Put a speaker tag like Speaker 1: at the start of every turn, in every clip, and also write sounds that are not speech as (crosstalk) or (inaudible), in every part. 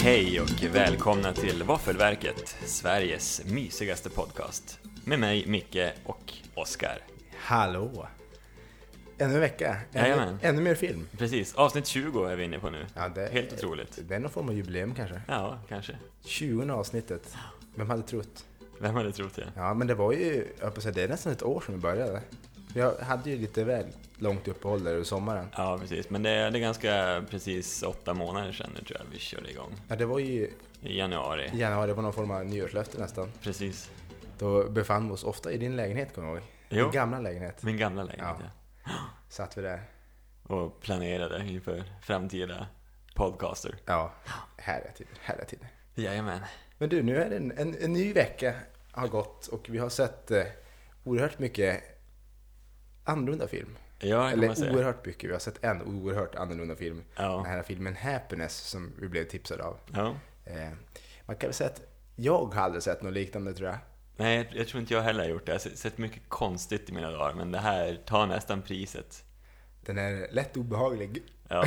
Speaker 1: Hej och välkomna till Våffelverket, Sveriges mysigaste podcast. Med mig, Micke och Oskar.
Speaker 2: Hallå! Ännu en vecka,
Speaker 1: Jajamän.
Speaker 2: ännu, ännu mer film.
Speaker 1: Precis, avsnitt 20 är vi inne på nu.
Speaker 2: Ja, det-
Speaker 1: Helt otroligt.
Speaker 2: Det är någon form av jubileum kanske.
Speaker 1: Ja, kanske.
Speaker 2: 20 avsnittet. Vem hade trott?
Speaker 1: Vem hade trott det?
Speaker 2: Ja, men det var ju, jag höll på att säga, det är nästan ett år sedan vi började. Vi hade ju lite väl långt uppehåll där över sommaren.
Speaker 1: Ja, precis. Men det är, det är ganska precis åtta månader sedan nu tror jag vi körde igång.
Speaker 2: Ja, det var ju
Speaker 1: I januari.
Speaker 2: i januari, det var någon form av nyårslöfte nästan.
Speaker 1: Precis.
Speaker 2: Då befann vi oss ofta i din lägenhet, kommer jag ihåg.
Speaker 1: Jo.
Speaker 2: Din gamla lägenhet.
Speaker 1: Min gamla lägenhet, ja.
Speaker 2: Ja. Satt vi där.
Speaker 1: Och planerade inför framtida podcaster.
Speaker 2: Ja, härliga tider, härliga tider.
Speaker 1: Jajamän.
Speaker 2: Men du, nu är det en, en, en ny vecka har gått och vi har sett eh, oerhört mycket annorlunda film.
Speaker 1: Ja, kan man
Speaker 2: Eller
Speaker 1: säga.
Speaker 2: oerhört mycket, vi har sett en oerhört annorlunda film. Den
Speaker 1: Ja.
Speaker 2: här filmen Happiness som vi blev tipsade av.
Speaker 1: ja.
Speaker 2: Eh, man kan väl säga att jag har aldrig sett något liknande tror jag.
Speaker 1: Nej, jag, jag tror inte jag heller har gjort det. Jag har sett- sett mycket konstigt i mina dagar, men det här tar nästan priset.
Speaker 2: Den är lätt obehaglig. (laughs)
Speaker 1: Ja.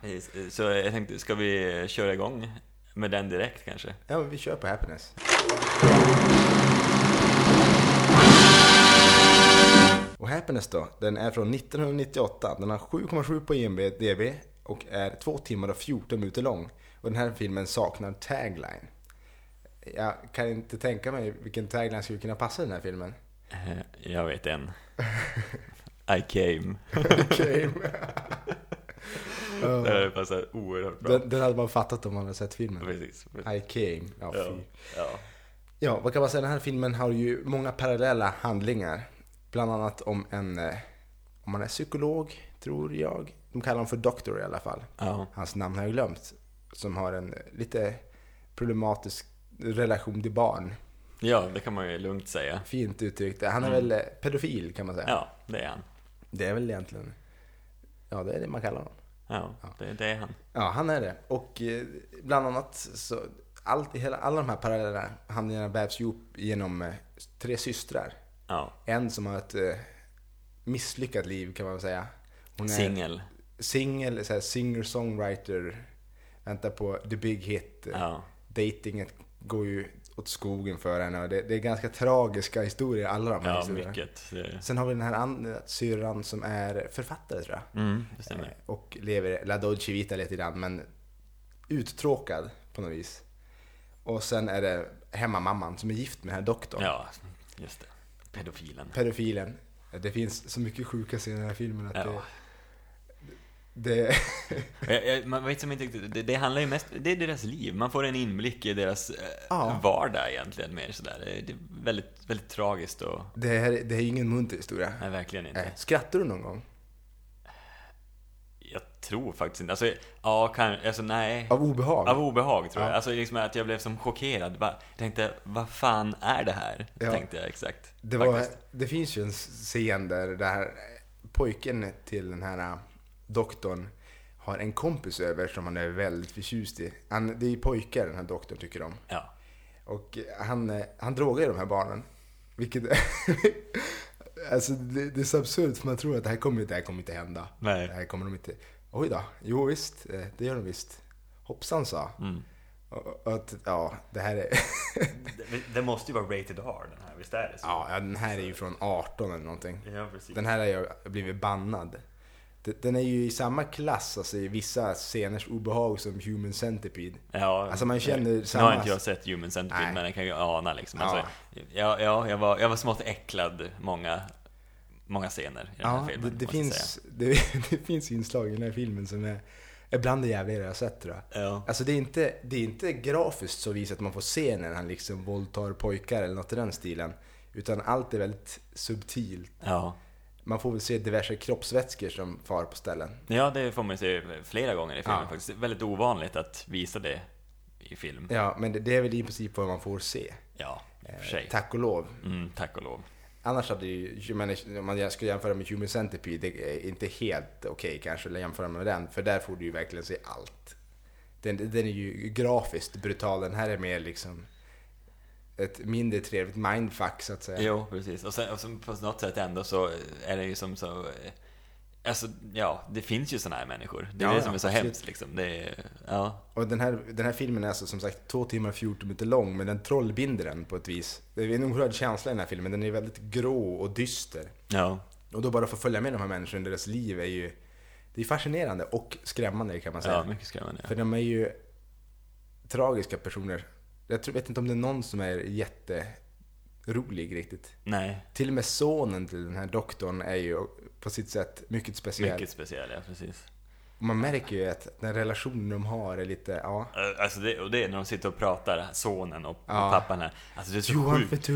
Speaker 1: Precis. Så jag tänkte, ska vi köra igång med den direkt kanske?
Speaker 2: Ja, men vi kör på Happiness. Och Happiness då, den är från 1998. Den har 7,7 på IMDB och är 2 timmar och 14 minuter lång. Och den här filmen saknar tagline. Jag kan inte tänka mig vilken tagline skulle kunna passa den här filmen.
Speaker 1: Eh, Jag vet en. I came.
Speaker 2: (laughs) Okej.
Speaker 1: Det hade passat oerhört bra.
Speaker 2: (laughs) den, den hade man fattat om man hade sett filmen.
Speaker 1: Precis.
Speaker 2: I came. Ja,
Speaker 1: Ja.
Speaker 2: fy.
Speaker 1: ja.
Speaker 2: Ja, vad kan man säga? Den här filmen har ju många parallella handlingar. Bland annat om en, eh, om man är psykolog, tror jag. De kallar honom för doktor i alla fall.
Speaker 1: ja.
Speaker 2: Hans namn har jag glömt. Som har en eh, lite problematisk relation till barn.
Speaker 1: Ja, det kan man ju lugnt säga.
Speaker 2: Fint uttryckt. Han är väl eh, pedofil kan man säga.
Speaker 1: Ja, det är han.
Speaker 2: Det är väl egentligen, ja det är det man kallar honom.
Speaker 1: Ja, det, det är han.
Speaker 2: Ja, han är det. Och eh, bland annat så, allt, hela, alla de här parallella handlingarna vävs ihop genom eh, tre systrar.
Speaker 1: Ja.
Speaker 2: En som har ett eh, misslyckat liv kan man väl säga. Hon är
Speaker 1: Singel.
Speaker 2: singel, så här singer-songwriter. Väntar på the big hit.
Speaker 1: Ja.
Speaker 2: Datinget går ju åt skogen för henne. Och det, det är ganska tragiska historier alla de här
Speaker 1: Ja,
Speaker 2: historierna.
Speaker 1: mycket. Det-
Speaker 2: Sen har vi den här andra syrran som är författare tror jag.
Speaker 1: Mm, det stämmer.
Speaker 2: Eh, Och lever la dolce vita lite grann men uttråkad på något vis. Och sen är det hemmamamman som är gift med den här doktorn.
Speaker 1: Ja, just det. Pedofilen.
Speaker 2: pedofilen. Det finns så mycket sjuka scener i den här filmen att
Speaker 1: Ja.
Speaker 2: det... det (laughs)
Speaker 1: Jag, jag, man vet som inte riktigt, det, det handlar ju mest, det är deras liv. Man får en inblick i deras eh,
Speaker 2: Ja.
Speaker 1: vardag egentligen mer sådär. Det, det är väldigt, väldigt tragiskt och,
Speaker 2: det, här, det är ju ingen munter historia.
Speaker 1: nej verkligen inte.
Speaker 2: Nej. Skrattar du någon gång?
Speaker 1: Jag tror faktiskt inte, alltså, ja kan, alltså nej.
Speaker 2: Av obehag?
Speaker 1: Av obehag tror
Speaker 2: Ja.
Speaker 1: jag. Alltså liksom att jag blev som chockerad. Va, tänkte, vad fan är det här?
Speaker 2: Ja.
Speaker 1: Tänkte jag exakt.
Speaker 2: det, var,
Speaker 1: Faktiskt.
Speaker 2: det finns ju en scen där det här pojken till den här äh, doktorn har en kompis över som han är väldigt förtjust i. Han, det är ju pojkar den här doktorn tycker om.
Speaker 1: Ja.
Speaker 2: Och han, eh, han drogar ju de här barnen. Vilket... (laughs) alltså det, det är så absurt för man tror att det här kommer, det här kommer inte hända.
Speaker 1: Nej.
Speaker 2: Det här kommer de inte... Oj då. Jo visst, eh, det gör de visst. Hoppsan sa.
Speaker 1: Mm.
Speaker 2: Och, och att, ja, det här är... (laughs)
Speaker 1: Det, det måste ju vara rated R den här, visst är det så?
Speaker 2: ja, ja, den här är ju från 18 eller någonting.
Speaker 1: Ja, precis.
Speaker 2: Den här har ju blivit bannad. D- Den är ju i samma klass, alltså i vissa sceners obehag som Human Centipede.
Speaker 1: Ja, Eh,
Speaker 2: Alltså, man känner
Speaker 1: nu
Speaker 2: samma-
Speaker 1: har inte jag sett Human Centipede,
Speaker 2: Nej.
Speaker 1: men jag kan ju ana liksom.
Speaker 2: Ja.
Speaker 1: Alltså, ja, ja, jag, var, jag var smått äcklad många, många scener i den här
Speaker 2: Ja, det,
Speaker 1: filmen. måste
Speaker 2: det,
Speaker 1: jag
Speaker 2: finns, (laughs) det, det finns inslag i den här filmen som är, är bland det jävligare jag har sett tror jag.
Speaker 1: säga. Ja.
Speaker 2: Alltså det är, inte, det är inte grafiskt så vis att man får se när han liksom våldtar pojkar eller något i den stilen. Utan allt är väldigt subtilt.
Speaker 1: Ja.
Speaker 2: Man får väl se diverse kroppsvätskor som far på ställen.
Speaker 1: ja, det får man ju se flera gånger i filmen
Speaker 2: Ja.
Speaker 1: faktiskt. Det är väldigt ovanligt att visa det i film.
Speaker 2: Ja, men det, det är väl i princip vad man får se.
Speaker 1: Ja, i och för sig.
Speaker 2: Tack och lov.
Speaker 1: Mm, tack och lov.
Speaker 2: Annars hade ju, jag menar, om man ska jämföra med Human Centipede, det är inte helt okej kanske att jämföra med den. För där får du ju verkligen se allt. Den, den är ju grafiskt brutal, den här är mer liksom ett mindre trevligt mindfuck så att säga.
Speaker 1: Jo, precis. Och sen, och sen på något sätt ändå så är det ju som så... eh, Alltså, ja, det finns ju sådana här människor. Det är
Speaker 2: Ja,
Speaker 1: det
Speaker 2: ja,
Speaker 1: som är så
Speaker 2: absolut.
Speaker 1: hemskt liksom. Det är, ja.
Speaker 2: Och den här, den här filmen är alltså som sagt 2 timmar och 14 minuter lång, men den trollbinder den på ett vis. Det är en oerhörd känsla i den här filmen, den är väldigt grå och dyster.
Speaker 1: Ja.
Speaker 2: Och då bara få följa med de här människorna i deras liv är ju det är fascinerande och skrämmande kan man säga.
Speaker 1: ja, mycket skrämmande.
Speaker 2: För
Speaker 1: Ja.
Speaker 2: de är ju tragiska personer. Jag tror, vet inte om det är någon som är jätterolig riktigt.
Speaker 1: Nej,
Speaker 2: Till och med sonen till den här doktorn är ju på sitt sätt mycket speciell.
Speaker 1: mycket speciell, ja precis.
Speaker 2: Man märker ju att den relationen de har är lite, ja.
Speaker 1: Eh, Alltså det, och det är när de sitter och pratar, sonen och
Speaker 2: Ja.
Speaker 1: pappan här. Alltså det är så
Speaker 2: You want
Speaker 1: sjukt.
Speaker 2: me to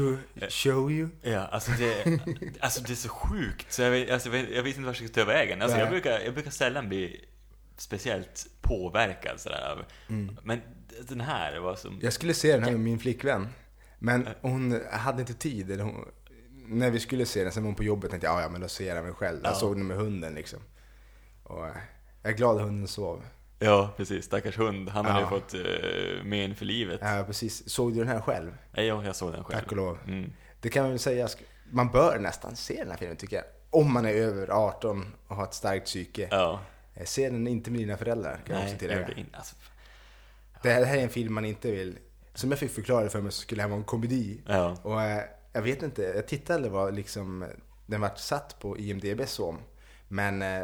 Speaker 2: show you?
Speaker 1: Ja, alltså det, alltså det är så sjukt. Så jag, vet- alltså jag, vet, jag vet inte vart jag ska ta vägen. Alltså jag,
Speaker 2: Nej.
Speaker 1: brukar, jag brukar sällan bli speciellt påverkad sådär. av-
Speaker 2: Mm.
Speaker 1: Men den här var som...
Speaker 2: Jag skulle se den här med min flickvän. Men hon hade inte tid. Eller hon, när vi skulle se den, sen var hon på jobbet tänkte jag "Ja, ja men då ser jag den väl själv. Jag
Speaker 1: Ja.
Speaker 2: såg den med hunden liksom. Och eh, jag är glad att hunden sov.
Speaker 1: Ja, precis. Stackars hund. Han hade ju
Speaker 2: Ja.
Speaker 1: fått uh, men för livet.
Speaker 2: Ja, precis. Såg du den här själv?
Speaker 1: Nej, ja, jag såg den själv.
Speaker 2: Tack och lov.
Speaker 1: Mm.
Speaker 2: Det kan man väl säga, sk- man bör nästan se den här filmen tycker jag. Om man är över 18 och har ett starkt psyke.
Speaker 1: Ja.
Speaker 2: Eh, Se den inte med dina föräldrar kan jag
Speaker 1: Nej,
Speaker 2: också
Speaker 1: jag
Speaker 2: tillägga.
Speaker 1: gjorde inte. Alltså,
Speaker 2: Det här, det här är en film man inte vill... Som jag fick förklara för mig så skulle det här vara en komedi.
Speaker 1: ja.
Speaker 2: Och eh, jag vet inte, jag tittade vad liksom den vart satt på IMDB som. Men eh,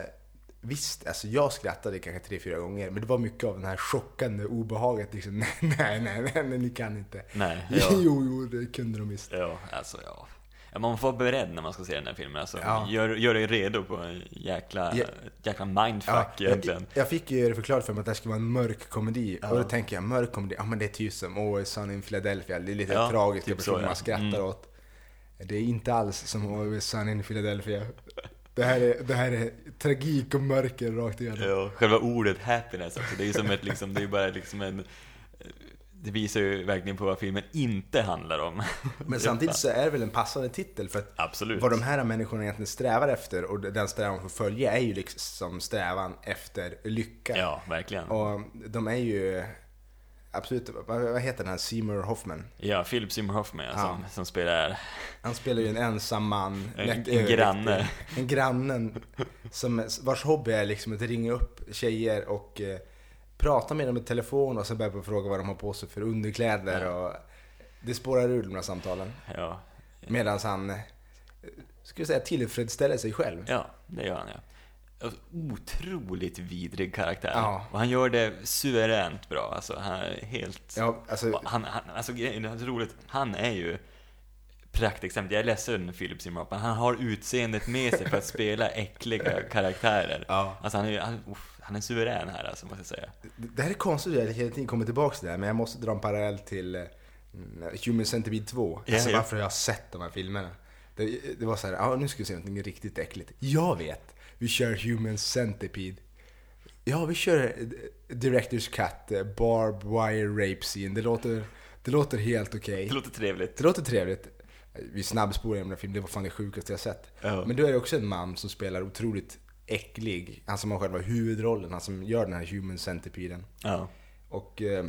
Speaker 2: visst, alltså jag skrattade kanske tre, fyra gånger. Men det var mycket av det här chockande obehaget. Liksom, (laughs) nej, nej, nej, nej, nej, ni kan inte.
Speaker 1: Nej, ja.
Speaker 2: (laughs) jo, jo, det kunde de visst.
Speaker 1: Ja, alltså ja. Ja, Man får vara beredd när man ska se den här filmen. Alltså,
Speaker 2: Ja.
Speaker 1: gör, gör dig redo på en jäkla,
Speaker 2: Ja.
Speaker 1: ett jäkla mindfuck
Speaker 2: jag,
Speaker 1: egentligen.
Speaker 2: jag fick ju det förklarat för mig att det här skulle vara en mörk komedi. Och då tänker jag, mörk komedi, ja men det är typ som Always Sunny in Philadelphia. Det är lite
Speaker 1: Ja,
Speaker 2: tragiska
Speaker 1: typ så,
Speaker 2: personer
Speaker 1: ja.
Speaker 2: man skrattar åt. Det är inte alls som Always Sunny in Philadelphia. Det här är, det här är tragik och mörker rakt igenom.
Speaker 1: Ja, själva ordet happiness också, det är ju som ett liksom, det är ju bara liksom en... Det visar ju verkligen på vad filmen inte handlar om. (laughs)
Speaker 2: Men samtidigt så är det väl en passande titel för att
Speaker 1: Absolut.
Speaker 2: vad de här människorna egentligen strävar efter och den strävan får följa är ju liksom strävan efter lycka.
Speaker 1: Ja, verkligen.
Speaker 2: Och de är ju absolut, vad vad heter den här Seymour Hoffman?
Speaker 1: Ja, Philip Seymour Hoffman ja. som, som spelar...
Speaker 2: Han spelar ju en ensam man.
Speaker 1: En-
Speaker 2: lätt
Speaker 1: en
Speaker 2: överviktig.
Speaker 1: granne.
Speaker 2: En grannen. Som, vars hobby är liksom att ringa upp tjejer och eh, prata med dem i telefon och sen börja på att fråga vad de har på sig för underkläder. Och det spårar ur de här samtalen.
Speaker 1: Ja,
Speaker 2: Medan han, eh, ska jag säga, tillfredsställer sig själv.
Speaker 1: ja det gör han ja. Alltså, Otroligt vidrig karaktär.
Speaker 2: Ja.
Speaker 1: Och han gör det suveränt bra. Alltså, han är helt...
Speaker 2: Ja, alltså,
Speaker 1: Han, han, alltså grejen är så roligt, han är ju praktexempel. Jag är ledsen Philip Seymour Hoffman, han har utseendet med sig för att spela
Speaker 2: (laughs)
Speaker 1: äckliga karaktärer.
Speaker 2: Ja.
Speaker 1: Alltså han är ju, han, uff, han är suverän här alltså, måste jag säga.
Speaker 2: det här är konstigt att jag hela tiden kommer tillbaka till det här, men jag måste dra en parallell till eh, Human Centipede 2.
Speaker 1: Ja,
Speaker 2: alltså
Speaker 1: ja.
Speaker 2: varför har jag sett de här filmerna? Det, det var så här, ja nu ska vi se någonting riktigt äckligt. Jag vet! Vi kör Human Centipede. Ja, vi kör eh, Directors Cut, eh, Barb Wire Rape Scene. Det låter, det låter helt okej.
Speaker 1: Det låter trevligt.
Speaker 2: Det låter trevligt. Vi snabbspolar genom den här filmen, det var fan det sjukaste jag sett.
Speaker 1: Ja.
Speaker 2: Men då är det också en man som spelar otroligt äcklig. Han som har själva huvudrollen, han som gör den här Human Centipeden.
Speaker 1: Ja.
Speaker 2: Och eh,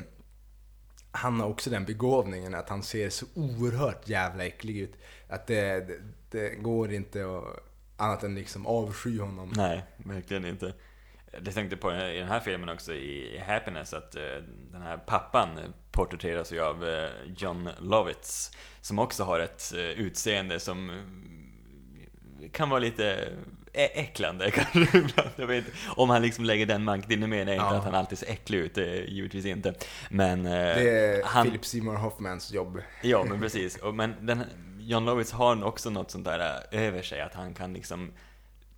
Speaker 2: han har också den begåvningen att han ser så oerhört jävla äcklig ut. Att det, det, det går inte att annat än liksom avsky honom.
Speaker 1: Nej, verkligen inte. Det tänkte på i den här filmen också, i i Happiness, att eh, den här pappan porträtteras ju av eh, John Lovitz. Som också har ett eh, utseende som eh, kan vara lite ä- äcklande (laughs) kanske ibland. Jag vet inte. Om han liksom lägger den manken, nu menar jag inte
Speaker 2: Ja.
Speaker 1: att han alltid ser äcklig ut, det är givetvis inte. Men eh,
Speaker 2: Det är
Speaker 1: han,
Speaker 2: Philip Seymour Hoffmans jobb.
Speaker 1: Ja, men precis. Och, men den, John Lovitz har också något sånt där eh, över sig, att han kan liksom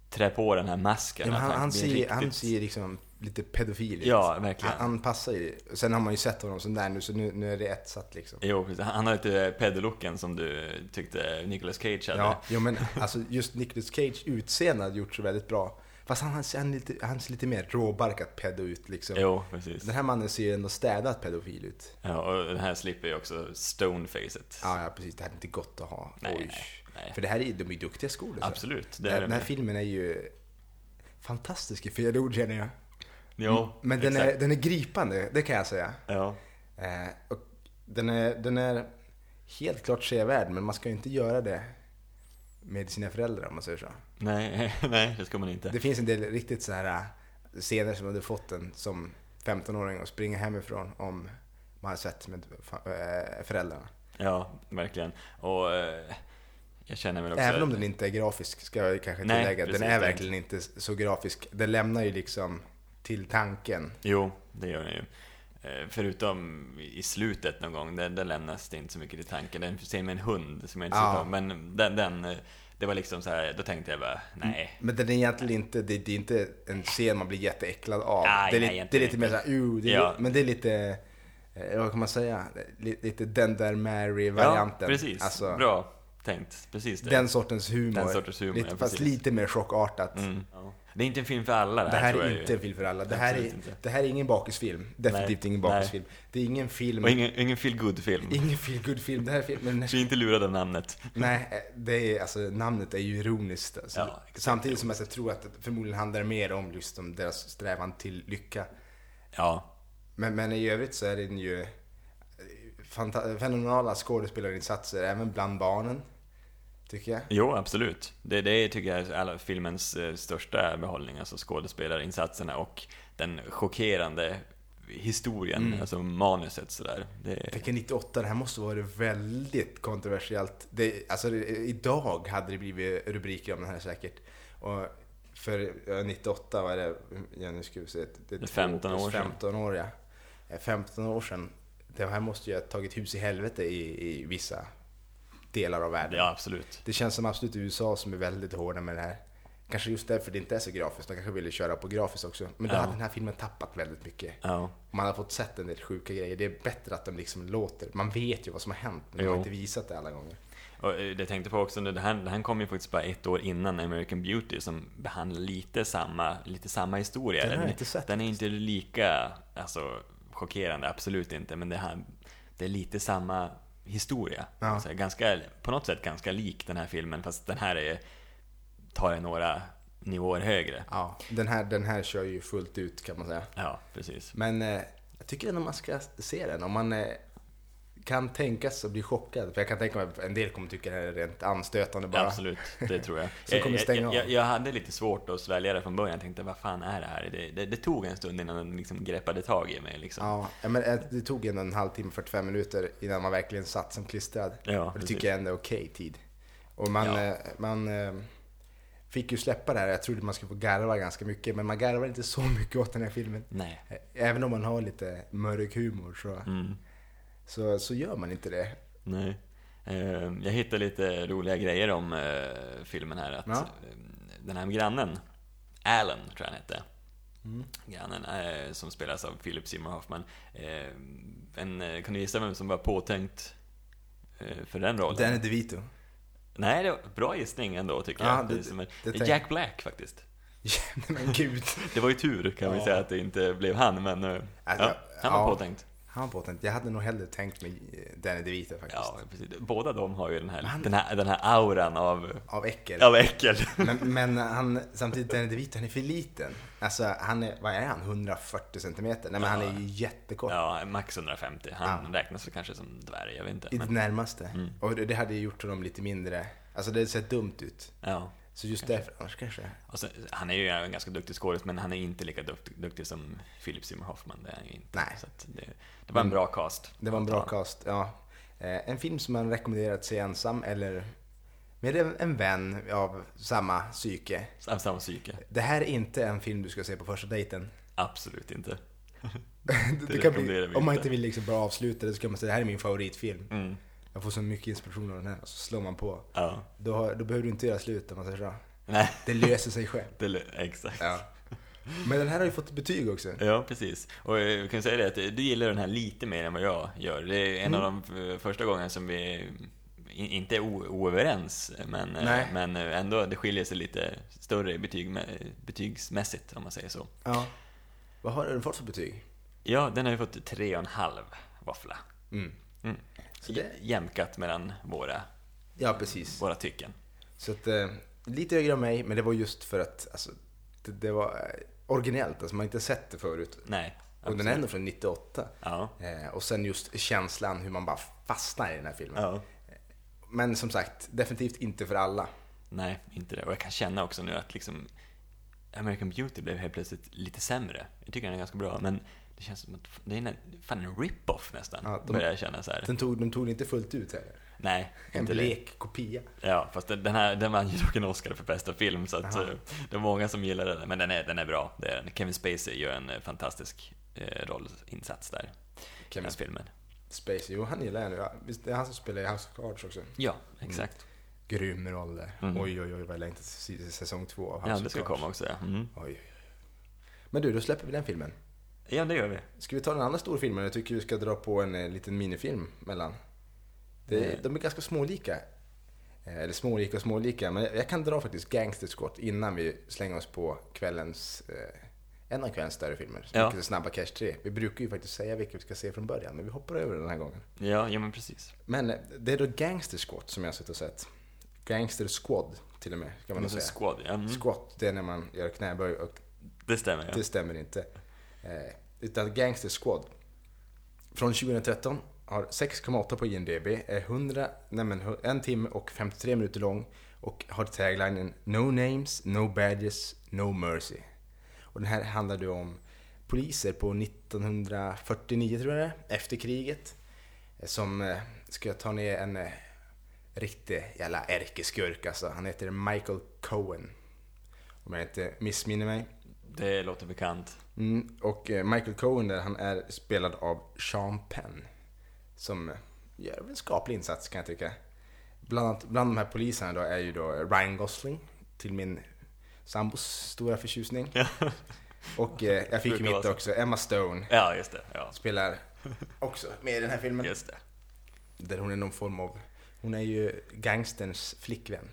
Speaker 1: trä på den här masken.
Speaker 2: Ja, men
Speaker 1: att
Speaker 2: han, han,
Speaker 1: blir
Speaker 2: ser, han
Speaker 1: riktigt-
Speaker 2: ser liksom lite pedofil ut.
Speaker 1: Ja, verkligen.
Speaker 2: Han, han passar ju. Sen har man ju sett honom sån där nu, så nu, nu är det ett satt liksom.
Speaker 1: Jo, precis. han har lite peddelooken som du tyckte Nicolas Cage hade.
Speaker 2: Ja, jo, men alltså just Nicolas Cage utseende har gjort så väldigt bra. Fast han, han, ser- han, är lite, han ser lite mer råbarkat pedo ut liksom.
Speaker 1: Jo, precis.
Speaker 2: Den här mannen ser ju ändå städat pedofil ut.
Speaker 1: Ja, och den här slipper ju också stonefacet.
Speaker 2: Ja, ja precis. Det här är inte gott att ha.
Speaker 1: Nej,
Speaker 2: Oj.
Speaker 1: nej, nej.
Speaker 2: För det här är, de är ju duktiga skolor.
Speaker 1: Absolut, det
Speaker 2: den,
Speaker 1: är
Speaker 2: här-
Speaker 1: det
Speaker 2: den här
Speaker 1: med.
Speaker 2: filmen är ju fantastisk i fel ord känner jag.
Speaker 1: Jo,
Speaker 2: Mm, Men den är,
Speaker 1: exakt.
Speaker 2: den är gripande, det kan jag säga.
Speaker 1: Ja,
Speaker 2: Eh, och den, är, den är helt klart sevärd, men man ska ju inte göra det med sina föräldrar om man säger så.
Speaker 1: Nej, (laughs) nej, det ska man inte.
Speaker 2: Det finns en del riktigt så här äh, scener som jag hade fått en som 15-åring och springa hemifrån om man hade sett med fa- äh, föräldrarna.
Speaker 1: Ja, verkligen. Och eh, jag känner väl också...
Speaker 2: Även om den inte är grafisk, ska jag ju kanske
Speaker 1: Nej,
Speaker 2: tillägga.
Speaker 1: precis,
Speaker 2: den är
Speaker 1: det är
Speaker 2: verkligen inte så grafisk. Den lämnar ju liksom till tanken.
Speaker 1: Jo, det gör den ju. Eh, Förutom i slutet någon gång, där, där lämnas det inte så mycket i tanken. Den scenen med en hund som jag inte
Speaker 2: Ja.
Speaker 1: ja. om, men den, den, eh, det var liksom så här, då tänkte jag bara, nej.
Speaker 2: Men den är egentligen inte, det, det är inte en scen man blir jätteäcklad av.
Speaker 1: Nej,
Speaker 2: det,
Speaker 1: nej,
Speaker 2: är, li- det är
Speaker 1: egentligen
Speaker 2: lite mer såhär, uh, det är,
Speaker 1: Ja.
Speaker 2: men det är lite, eh, vad kan man säga? Li- Lite den där Mary-varianten.
Speaker 1: Ja, precis.
Speaker 2: Alltså,
Speaker 1: Bra tänkt. Precis det.
Speaker 2: Den sortens humor.
Speaker 1: Den sortens humor,
Speaker 2: lite,
Speaker 1: ja,
Speaker 2: fast
Speaker 1: precis.
Speaker 2: lite mer chockartat.
Speaker 1: Mm. Det är inte en film för alla det
Speaker 2: Det
Speaker 1: här,
Speaker 2: här
Speaker 1: tror jag
Speaker 2: är
Speaker 1: ju.
Speaker 2: inte en film för alla. Det här är,
Speaker 1: Absolut inte.
Speaker 2: det här är ingen bakisfilm. Definitivt
Speaker 1: Nej,
Speaker 2: ingen
Speaker 1: nej.
Speaker 2: bakisfilm. Det är ingen film,
Speaker 1: Och ingen, ingen feel good film
Speaker 2: ingen feel good film Det här är filmen,
Speaker 1: Bli inte lurad av namnet.
Speaker 2: nej, det är, alltså, namnet är ju ironiskt. Alltså.
Speaker 1: Ja, exakt.
Speaker 2: Samtidigt som jag så tror att det förmodligen handlar mer om just om deras strävan till lycka.
Speaker 1: Ja,
Speaker 2: Men, men i övrigt så är den ju eh, fanta- fenomenala skådespelarinsatser även bland barnen. Tycker jag.
Speaker 1: jo absolut. Det, det tycker jag är alla filmens eh, största behållning, alltså skådespelarinsatserna och den chockerande historien,
Speaker 2: Mm.
Speaker 1: alltså manuset sådär. Det,
Speaker 2: Tecken 98, det här måste vara väldigt kontroversiellt. Det, alltså, det, idag hade det blivit rubriker om den här säkert. Och för ja, 98 var det, ja, nu ska vi se, det,
Speaker 1: är 15 år sedan.
Speaker 2: 15 år, ja. Eh, 15 år sedan. Det här måste ju ha tagit hus i helvete i, i vissa delar av världen.
Speaker 1: ja absolut.
Speaker 2: Det känns som absolut USA som är väldigt hårda med det här. Kanske just därför det inte är så grafiskt, de kanske ville köra på grafiskt också. Men då
Speaker 1: Ja.
Speaker 2: hade den här filmen tappat väldigt mycket.
Speaker 1: Ja.
Speaker 2: Man har fått sett en del sjuka grejer. Det är bättre att de liksom låter. Man vet ju vad som har hänt, men de har
Speaker 1: Jo.
Speaker 2: inte visat det alla gånger.
Speaker 1: Och eh, det tänkte på också, det här, det här kom ju faktiskt bara ett år innan American Beauty som behandlar lite samma, lite samma historia.
Speaker 2: Den har jag inte sett
Speaker 1: Den är inte lika alltså, chockerande, absolut inte, men det, här, det är lite samma historia.
Speaker 2: Ja.
Speaker 1: Alltså, ganska, på något sätt ganska lik den här filmen, fast den här är, tar det några nivåer högre.
Speaker 2: Ja, den här, den här kör ju fullt ut kan man säga.
Speaker 1: Ja, precis.
Speaker 2: Men eh, jag tycker ändå man ska se den. Om man eh, kan tänkas att bli chockad. För jag kan tänka mig att en del kommer tycka det här är rent anstötande bara.
Speaker 1: Absolut, det tror jag.
Speaker 2: (laughs) Så kommer
Speaker 1: jag,
Speaker 2: stänga
Speaker 1: jag,
Speaker 2: av.
Speaker 1: jag, jag hade lite svårt att svälja det från början. Jag tänkte, vad fan är det här? Det, det, det tog en stund innan den liksom greppade tag i mig. Liksom.
Speaker 2: Ja, ja, men eh, det tog ändå en halvtimme, 45 minuter innan man verkligen satt som klistrad.
Speaker 1: Ja,
Speaker 2: och det
Speaker 1: precis.
Speaker 2: tycker jag ändå är okej tid. Och man,
Speaker 1: Ja.
Speaker 2: eh, man eh, fick ju släppa det här. Jag trodde man skulle få garva ganska mycket, men man garvar inte så mycket åt den här filmen.
Speaker 1: Nej.
Speaker 2: Eh, Även om man har lite mörk humor så,
Speaker 1: Mm.
Speaker 2: så, så gör man inte det.
Speaker 1: Nej. Eh, Jag hittade lite roliga grejer om eh, filmen här. Att
Speaker 2: Ja.
Speaker 1: eh, Den här grannen, Alan tror jag han hette.
Speaker 2: Mm.
Speaker 1: Grannen eh, som spelas av Philip Seymour Hoffman. Eh, En, eh, kan du gissa vem som var påtänkt eh, för den rollen?
Speaker 2: Danny (laughs) DeVito.
Speaker 1: Nej, det var bra gissning ändå tycker
Speaker 2: Ja,
Speaker 1: jag.
Speaker 2: det-
Speaker 1: Det, som är-
Speaker 2: det
Speaker 1: det
Speaker 2: tänk-
Speaker 1: är Jack Black faktiskt.
Speaker 2: Nej, men gud.
Speaker 1: Det var ju tur kan vi
Speaker 2: Ja.
Speaker 1: säga att det inte blev han, men eh,
Speaker 2: Alltså,
Speaker 1: ja, han var
Speaker 2: ja.
Speaker 1: påtänkt.
Speaker 2: Han var påtänkt. Jag hade nog hellre tänkt mig eh, Danny DeVito faktiskt.
Speaker 1: Ja, precis. Båda de har ju den här,
Speaker 2: Han-
Speaker 1: den här, den här auran av,
Speaker 2: Av äckel.
Speaker 1: av äckel.
Speaker 2: (laughs)
Speaker 1: (laughs)
Speaker 2: Men, men han, samtidigt, Danny DeVito, han är för liten. Alltså, han är, vad är han? 140 centimeter? Nej, men han är ju jättekort.
Speaker 1: Ja, max 150. Han räknas väl kanske som dvärg, jag vet inte.
Speaker 2: I det
Speaker 1: Men,
Speaker 2: närmaste.
Speaker 1: Mm.
Speaker 2: Och det det hade ju gjort honom lite mindre. Alltså, det hade sett dumt ut.
Speaker 1: ja.
Speaker 2: Så just därför, annars kanske.
Speaker 1: och sen, han är ju en ganska duktig skådis, men han är inte lika dukt, duktig som Philip Seymour Hoffman. Det är han ju inte.
Speaker 2: Nej.
Speaker 1: Så att det, det var en bra cast.
Speaker 2: Det var en bra cast, ja. Eh, En film som man rekommenderar att se ensam eller med en en vän av samma psyke.
Speaker 1: Av samma psyke.
Speaker 2: Det här är inte en film du ska se på första dejten.
Speaker 1: Absolut inte.
Speaker 2: (laughs) Det kan
Speaker 1: rekommenderar
Speaker 2: bli,
Speaker 1: vi
Speaker 2: om man
Speaker 1: inte.
Speaker 2: inte vill liksom bara avsluta det så kan man säga det här är min favoritfilm.
Speaker 1: Mm.
Speaker 2: Jag får så mycket inspiration av den här. Och så slår man på.
Speaker 1: Ja.
Speaker 2: Då, har- då behöver du inte göra slut om man säger så.
Speaker 1: Nej,
Speaker 2: Det löser sig
Speaker 1: (laughs)
Speaker 2: själv.
Speaker 1: det, lö- exakt.
Speaker 2: Ja. Men den här har ju fått betyg också.
Speaker 1: Ja, precis. Och eh, jag kan säga det att eh, du gillar den här lite mer än vad jag gör. Det är en
Speaker 2: Mm.
Speaker 1: av de eh, första gångerna som vi i- inte är o- oöverens, men, eh,
Speaker 2: Nej.
Speaker 1: men eh, ändå det skiljer sig lite större i betyg, eh, betygsmässigt om man säger så.
Speaker 2: Ja. Vad har den fått för betyg?
Speaker 1: Ja, den har ju fått tre och en halv våffla.
Speaker 2: Mm.
Speaker 1: Mm.
Speaker 2: Så det-
Speaker 1: Jämkat mellan våra,
Speaker 2: Ja, precis.
Speaker 1: våra tycken.
Speaker 2: Så att, eh, lite högre än mig, men det var just för att alltså, det, det var eh, originellt. Alltså, man har inte sett det förut.
Speaker 1: Nej,
Speaker 2: Och den är ändå från 98.
Speaker 1: Ja.
Speaker 2: Eh, och sen just känslan hur man bara fastnar i den här filmen.
Speaker 1: ja.
Speaker 2: Men som sagt, definitivt inte för alla.
Speaker 1: Nej, inte det. Och jag kan känna också nu att liksom American Beauty blev helt plötsligt lite sämre. Jag tycker den är ganska bra, men det känns som att det är en, fan en rip-off nästan.
Speaker 2: Ja, de-
Speaker 1: Börjar jag känna så här.
Speaker 2: Den tog, de tog det inte fullt ut heller.
Speaker 1: Nej,
Speaker 2: En
Speaker 1: inte det.
Speaker 2: blek kopia.
Speaker 1: Ja, fast den den här, den vann ju dock en Oscar för bästa film, så att
Speaker 2: Jaha.
Speaker 1: eh, det är många som gillar den. Men den är, den är bra, det är den. Kevin Spacey gör en eh, fantastisk eh, rollinsats där. I
Speaker 2: Kevin
Speaker 1: den filmen.
Speaker 2: Space, jo han gillar jag nu. Ja, Visst, det är han som spelar i House of Cards också.
Speaker 1: Ja, exakt.
Speaker 2: Grym roll där.
Speaker 1: Mm.
Speaker 2: Oj, oj, oj, vad jag längtar till se- säsong två av House
Speaker 1: Ja,
Speaker 2: of
Speaker 1: det ska
Speaker 2: Cards.
Speaker 1: komma också. Ja. Mm.
Speaker 2: Oj, oj, oj. Men du, då släpper vi den filmen.
Speaker 1: ja, det gör vi.
Speaker 2: Ska vi ta den andra storfilmen? Jag tycker vi ska dra på en eh, liten minifilm mellan. Det,
Speaker 1: Eh.
Speaker 2: de är ganska smålika. Eh, Eller smålika och smålika, men jag- jag kan dra faktiskt Gangsters Squad innan vi slänger oss på kvällens, eh, en av kvällens större filmer. Som
Speaker 1: Ja.
Speaker 2: vilket är Snabba Cash 3. Vi brukar ju faktiskt säga vilka vi ska se från början, men vi hoppar över den här gången.
Speaker 1: Ja, ja men precis.
Speaker 2: Men eh, det är då Gangster Squad som jag har suttit och sett. Gangster Squad till och med, kan man nog säga.
Speaker 1: Squad, ja. Mm.
Speaker 2: Squat, det är när man gör knäböj och
Speaker 1: Det stämmer, ja.
Speaker 2: det stämmer inte. Eh, utan Gangster Squad. Från 2013. Har 6,8 på IMDB. Är 100, nej men, hu- en timme och 53 minuter lång. Och har taglinen No names, no badges, no mercy. Och den här handlar ju om poliser på 1949 tror jag det är, efter kriget. eh, Som eh, ska ta ner en eh, riktig jävla ärkeskurk alltså. Han heter Michael Cohen. Om jag inte missminner mig.
Speaker 1: Det låter bekant.
Speaker 2: Mm, och eh, Michael Cohen där, han är spelad av Sean Penn. Som eh, gör en skaplig insats kan jag tycka. Bland, annat, bland de här poliserna då är ju då Ryan Gosling, till min sambos stora förtjusning.
Speaker 1: Ja,
Speaker 2: Och eh, jag fick ju
Speaker 1: Brukar vara
Speaker 2: mitt
Speaker 1: så.
Speaker 2: också, Emma Stone
Speaker 1: ja just det. Ja.
Speaker 2: spelar också med i den här filmen.
Speaker 1: Just det.
Speaker 2: Där hon är någon form av, hon är ju gangsterns flickvän.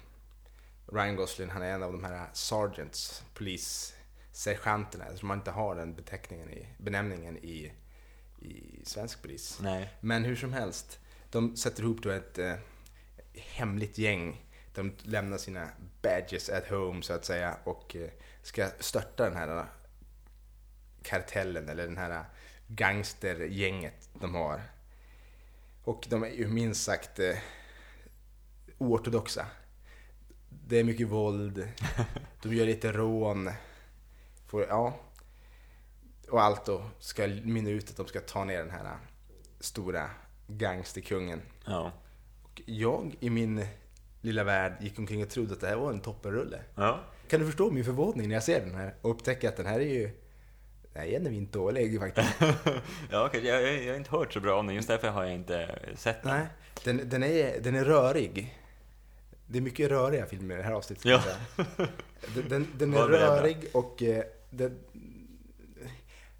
Speaker 2: Ryan Gosling, han är en av de här sergeants, polissergeanterna, som man inte har den beteckningen i, benämningen i, i svensk polis.
Speaker 1: Nej.
Speaker 2: Men hur som helst, de sätter ihop då ett eh, hemligt gäng. De lämnar sina badges at home så att säga och eh, ska störta den här eh, kartellen eller den här eh, gangstergänget de har. Och de är ju minst sagt eh, oortodoxa. Det är mycket våld, de gör lite rån. Får, ja. Och allt då ska mynna ut att de ska ta ner den här eh, stora gangsterkungen.
Speaker 1: Ja.
Speaker 2: Och jag i min lilla värld gick omkring och trodde att det här var en toppenrulle.
Speaker 1: Ja.
Speaker 2: Kan du förstå min förvåning när jag ser den här och upptäcker att den här är ju... Den här är genuint dålig (laughs) faktiskt.
Speaker 1: ja okej, jag, jag, jag har inte hört så bra om den, just därför har jag inte sett den.
Speaker 2: Nej, den, den, är, den är rörig. Det är mycket röriga filmer i det här avsnittet.
Speaker 1: Ja.
Speaker 2: kan jag säga. Den, den, (laughs) den är
Speaker 1: Var beredda.
Speaker 2: rörig och eh, den,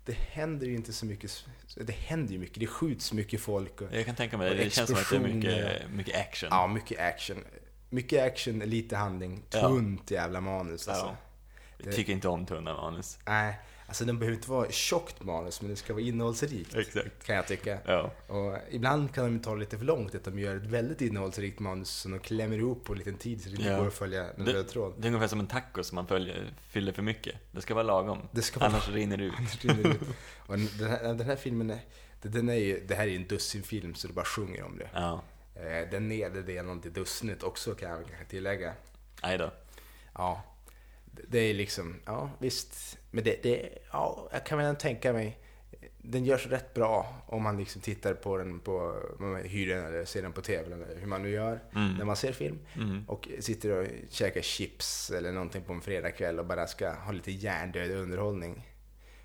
Speaker 2: det händer ju inte så mycket. Det händer ju mycket. Det skjuts mycket folk. Och,
Speaker 1: Jag kan tänka mig det,
Speaker 2: Och
Speaker 1: det känns som att det är mycket,
Speaker 2: explosioner.
Speaker 1: mycket action.
Speaker 2: Ja, mycket action. Mycket action, lite handling.
Speaker 1: Ja.
Speaker 2: Tunt jävla manus alltså.
Speaker 1: Ja. Jag
Speaker 2: det-
Speaker 1: tycker inte om tunna manus.
Speaker 2: Nej, alltså den behöver inte vara tjockt manus, men det ska vara innehållsrikt.
Speaker 1: Exakt.
Speaker 2: Kan jag tycka.
Speaker 1: Ja.
Speaker 2: Och ibland kan de ta det lite för långt, att de gör ett väldigt innehållsrikt manus som de klämmer ihop på en liten tid så det inte
Speaker 1: Ja.
Speaker 2: går att följa den
Speaker 1: Det-
Speaker 2: röda tråden.
Speaker 1: Det är ungefär som en taco som man följer, fyller för mycket. Det ska vara lagom.
Speaker 2: Det ska vara (laughs)
Speaker 1: Annars rinner det ut.
Speaker 2: Annars rinner det ut. Och den, här, den här filmen, är, den är ju, det här är ju en dussinfilm så det bara sjunger om det.
Speaker 1: Ja.
Speaker 2: Eh, Den nedre delen är lite dussinet också kan jag kanske tillägga.
Speaker 1: Aj då.
Speaker 2: Ja. Det är liksom, ja visst. Men det, det ja, jag kan väl ändå tänka mig. Den görs rätt bra om man liksom tittar på den på, om man hyr den eller ser den på tv eller hur man nu gör
Speaker 1: Mm.
Speaker 2: när man ser film.
Speaker 1: Mm.
Speaker 2: Och sitter och käkar chips eller någonting på en fredagkväll och bara ska ha lite hjärndöd underhållning.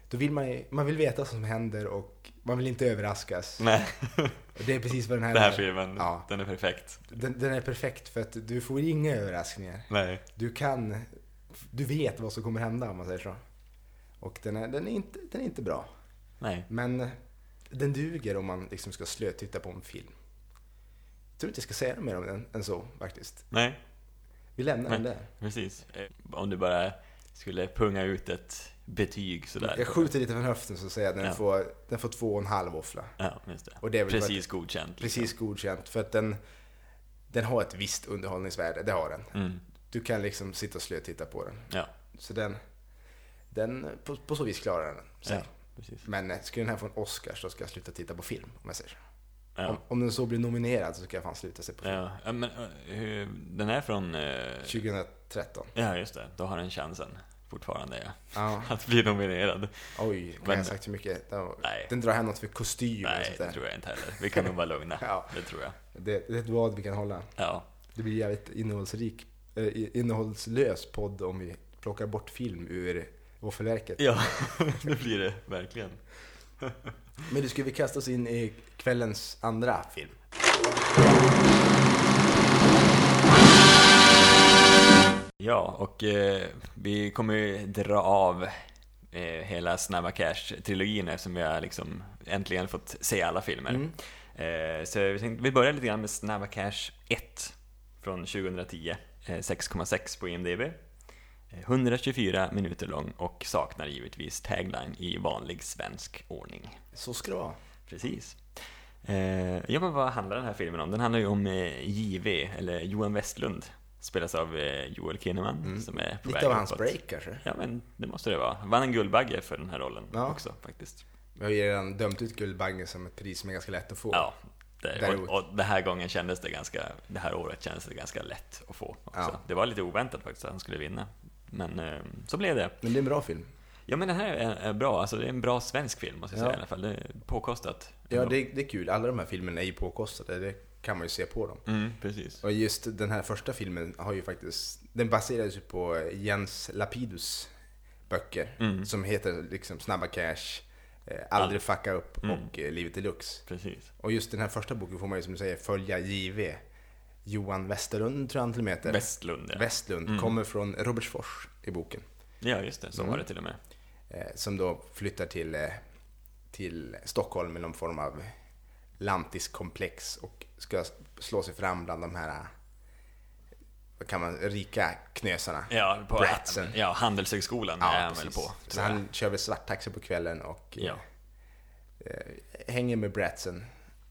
Speaker 2: Då vill man ju, man vill veta vad som händer och man vill inte överraskas.
Speaker 1: Nej,
Speaker 2: Och det är precis vad den här,
Speaker 1: den Mm. här filmen,
Speaker 2: Ja.
Speaker 1: den är perfekt.
Speaker 2: den, den är perfekt för att du får inga överraskningar
Speaker 1: Nej.
Speaker 2: du kan, du vet vad som kommer hända om man säger så. Och den är, den är, inte, den är inte bra.
Speaker 1: Nej.
Speaker 2: Men den duger om man liksom ska slötitta på en film. Jag tror inte jag ska säga mer om den än så faktiskt.
Speaker 1: Nej.
Speaker 2: Vi lämnar den
Speaker 1: Nej.
Speaker 2: där.
Speaker 1: Precis. Eh, Om du bara skulle punga ut ett betyg sådär.
Speaker 2: Jag skjuter lite från höften så säger jag att den,
Speaker 1: Ja.
Speaker 2: får, den får två och en halv våffla.
Speaker 1: Ja, just det.
Speaker 2: Och det är väl
Speaker 1: Precis godkänt.
Speaker 2: För att, precis godkänt. För att den, den har ett visst underhållningsvärde, det har den.
Speaker 1: Mm.
Speaker 2: Du kan liksom sitta och slötitta på den.
Speaker 1: Ja,
Speaker 2: Så den, den på, på så vis klarar den sig.
Speaker 1: ja, precis.
Speaker 2: Men eh, skulle den här få en Oscar så ska jag sluta titta på film, om jag säger så.
Speaker 1: Ja.
Speaker 2: Om, om den så blir nominerad så ska jag fan sluta se på film.
Speaker 1: Ja, ja, men eh, hur, den är från... eh,
Speaker 2: 2013.
Speaker 1: Ja, just det. Då har den chansen fortfarande, ja. (laughs)
Speaker 2: Ja.
Speaker 1: Att bli nominerad.
Speaker 2: Oj, kan
Speaker 1: Men-
Speaker 2: jag ha sagt så mycket? Den, var-
Speaker 1: Nej.
Speaker 2: den drar hem något för kostym och
Speaker 1: Nej,
Speaker 2: sånt
Speaker 1: det
Speaker 2: där.
Speaker 1: tror jag inte heller. Vi kan nog vara lugna.
Speaker 2: (laughs) Ja.
Speaker 1: Det tror jag.
Speaker 2: Det, det är ett vad vi kan hålla.
Speaker 1: Ja,
Speaker 2: Det blir jävligt innehållsrik, eh, i- innehållslös podd om vi plockar bort film ur våffelverket.
Speaker 1: ja (laughs) det blir det verkligen.
Speaker 2: Men du, ska vi kasta oss in i kvällens andra film?
Speaker 1: Ja, och eh, vi kommer ju dra av eh, hela Snabba Cash-trilogin eftersom vi har liksom äntligen fått se alla filmer. Eh, så vi, tänkte, vi börjar lite grann med Snabba Cash 1 från 2010. Eh, 6,6 på IMDB. Eh, 124 minuter lång och saknar givetvis tagline i vanlig svensk ordning.
Speaker 2: Så ska det vara.
Speaker 1: Precis. Eh, ja, men vad handlar den här filmen om? Den handlar ju om eh, JV, eller Johan Westlund. Spelas av eh, Joel Kinnaman som är på väg
Speaker 2: Mm. Lite av hans
Speaker 1: uppåt.
Speaker 2: break kanske.
Speaker 1: Ja, men det måste det vara. Vann en Guldbagge för den här rollen
Speaker 2: Ja.
Speaker 1: också faktiskt.
Speaker 2: Vi har ju redan dömt ut Guldbaggen som ett pris som är ganska lätt att få.
Speaker 1: Ja, det,
Speaker 2: Däremot.
Speaker 1: och, och det här gången kändes det ganska, det här året kändes det ganska lätt att få också.
Speaker 2: Ja.
Speaker 1: Det var lite oväntat faktiskt att han skulle vinna. Men eh, så blev det.
Speaker 2: Men det är en bra film.
Speaker 1: Ja, men den här är, är bra. Alltså, det är en bra svensk film måste jag
Speaker 2: Ja.
Speaker 1: säga i alla fall. Det är påkostat.
Speaker 2: Ja, det, det är kul. Alla de här filmerna är ju påkostade. Det kan man ju se på dem.
Speaker 1: Mm, precis.
Speaker 2: Och just den här första filmen har ju faktiskt, den baseras ju på Jens Lapidus böcker. Som heter liksom Snabba Cash, eh, Aldrig fucka upp och eh, Livet deluxe.
Speaker 1: Precis.
Speaker 2: Och just den här första boken får man ju som du säger följa JV. Johan Westerlund tror jag han till och med heter.
Speaker 1: Westlund, ja.
Speaker 2: Westlund kommer från Robertsfors i boken.
Speaker 1: Ja, just det. Så
Speaker 2: Mm.
Speaker 1: var det till och med.
Speaker 2: Eh, som då flyttar till, eh, till Stockholm med någon form av lantiskomplex och ska slå sig fram bland de här eh, vad kan man, rika knösarna.
Speaker 1: Ja, på
Speaker 2: Bratsen.
Speaker 1: ja, Handelshögskolan
Speaker 2: Ja,
Speaker 1: är han väl
Speaker 2: precis.
Speaker 1: på.
Speaker 2: Så
Speaker 1: Tror jag.
Speaker 2: han kör väl svarttaxi på kvällen och eh,
Speaker 1: Ja,
Speaker 2: hänger med bratsen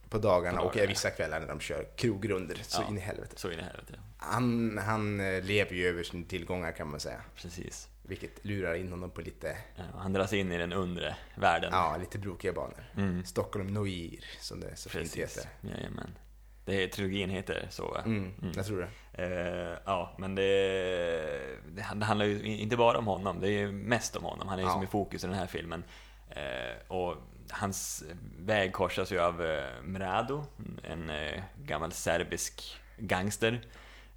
Speaker 2: på dagarna,
Speaker 1: På
Speaker 2: och
Speaker 1: dagarna.
Speaker 2: är vissa kvällar när de kör krogrunder så
Speaker 1: Ja.
Speaker 2: in i helvete.
Speaker 1: så in i helvete. ja.
Speaker 2: Han, han eh, lever ju över sina tillgångar kan man säga.
Speaker 1: Precis.
Speaker 2: Vilket lurar in honom på lite,
Speaker 1: Ja, Han dras in i den undre världen.
Speaker 2: ja, lite brokiga banor. Stockholm Noir, som det så fint
Speaker 1: Mm. Precis.
Speaker 2: heter.
Speaker 1: Jajamän. Det är, trilogin heter så. ja.
Speaker 2: Mm, Jag tror det.
Speaker 1: Eh, ja, men det, det, han- det handlar ju i- inte bara om honom, det är ju mest om honom. Han är ju
Speaker 2: Ja.
Speaker 1: som i fokus i den här filmen. Eh, och hans väg korsas ju av eh, Mrado, en eh, gammal serbisk gangster.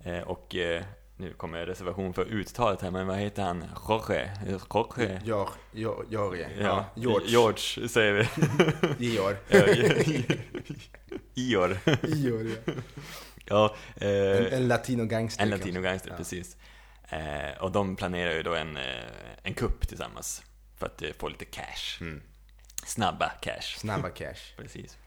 Speaker 1: Eh, och eh, nu kommer jag reservation för uttalet här, men vad heter han? Jorge? Jorge?
Speaker 2: Jor, jor, Jorge.
Speaker 1: Ja,
Speaker 2: Ja, George.
Speaker 1: George säger vi. (laughs)
Speaker 2: Georg.
Speaker 1: Ior.
Speaker 2: Georg, ja.
Speaker 1: Ja,
Speaker 2: En,
Speaker 1: eh,
Speaker 2: en latinogangster. liksom.
Speaker 1: en
Speaker 2: kanske.
Speaker 1: latinogangster,
Speaker 2: Ja.
Speaker 1: precis. Eh, och de planerar ju då en, eh, en kupp tillsammans för att eh, få lite cash.
Speaker 2: Mm.
Speaker 1: Snabba cash.
Speaker 2: Snabba cash.
Speaker 1: Precis.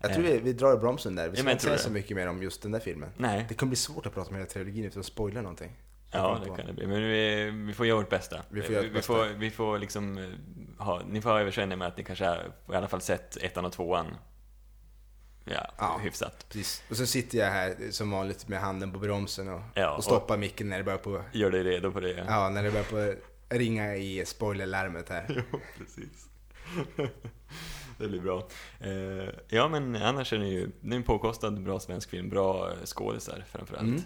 Speaker 2: Jag tror vi, vi drar i bromsen där. Vi
Speaker 1: Eh. Ja,
Speaker 2: ska
Speaker 1: men jag
Speaker 2: inte
Speaker 1: tror
Speaker 2: säga
Speaker 1: det.
Speaker 2: så mycket mer om just den där filmen.
Speaker 1: Nej,
Speaker 2: Det kommer bli svårt att prata om hela trilogin utan att spoila någonting. Jag
Speaker 1: ja
Speaker 2: kommer
Speaker 1: det
Speaker 2: på.
Speaker 1: kan det bli. Men vi, vi får göra vårt bästa.
Speaker 2: Vi får göra
Speaker 1: vi,
Speaker 2: vårt
Speaker 1: vi
Speaker 2: bästa.
Speaker 1: får, vi får liksom eh, ha, ni får ha överseende med att ni kanske har, i alla fall sett ettan och tvåan. Ja,
Speaker 2: Ja.
Speaker 1: hyfsat.
Speaker 2: Precis. Och så sitter jag här eh, som vanligt med handen på bromsen och,
Speaker 1: Ja,
Speaker 2: och
Speaker 1: och-
Speaker 2: stoppar micken när det börjar på,
Speaker 1: Gör dig redo på det. Ja.
Speaker 2: ja, när det börjar på ringa i
Speaker 1: (laughs)
Speaker 2: spoilerlarmet här.
Speaker 1: Ja, precis. det blir bra. Eh, ja, men annars är det ju det är en påkostad, bra svensk film. Bra eh, skådisar framförallt.
Speaker 2: Mm.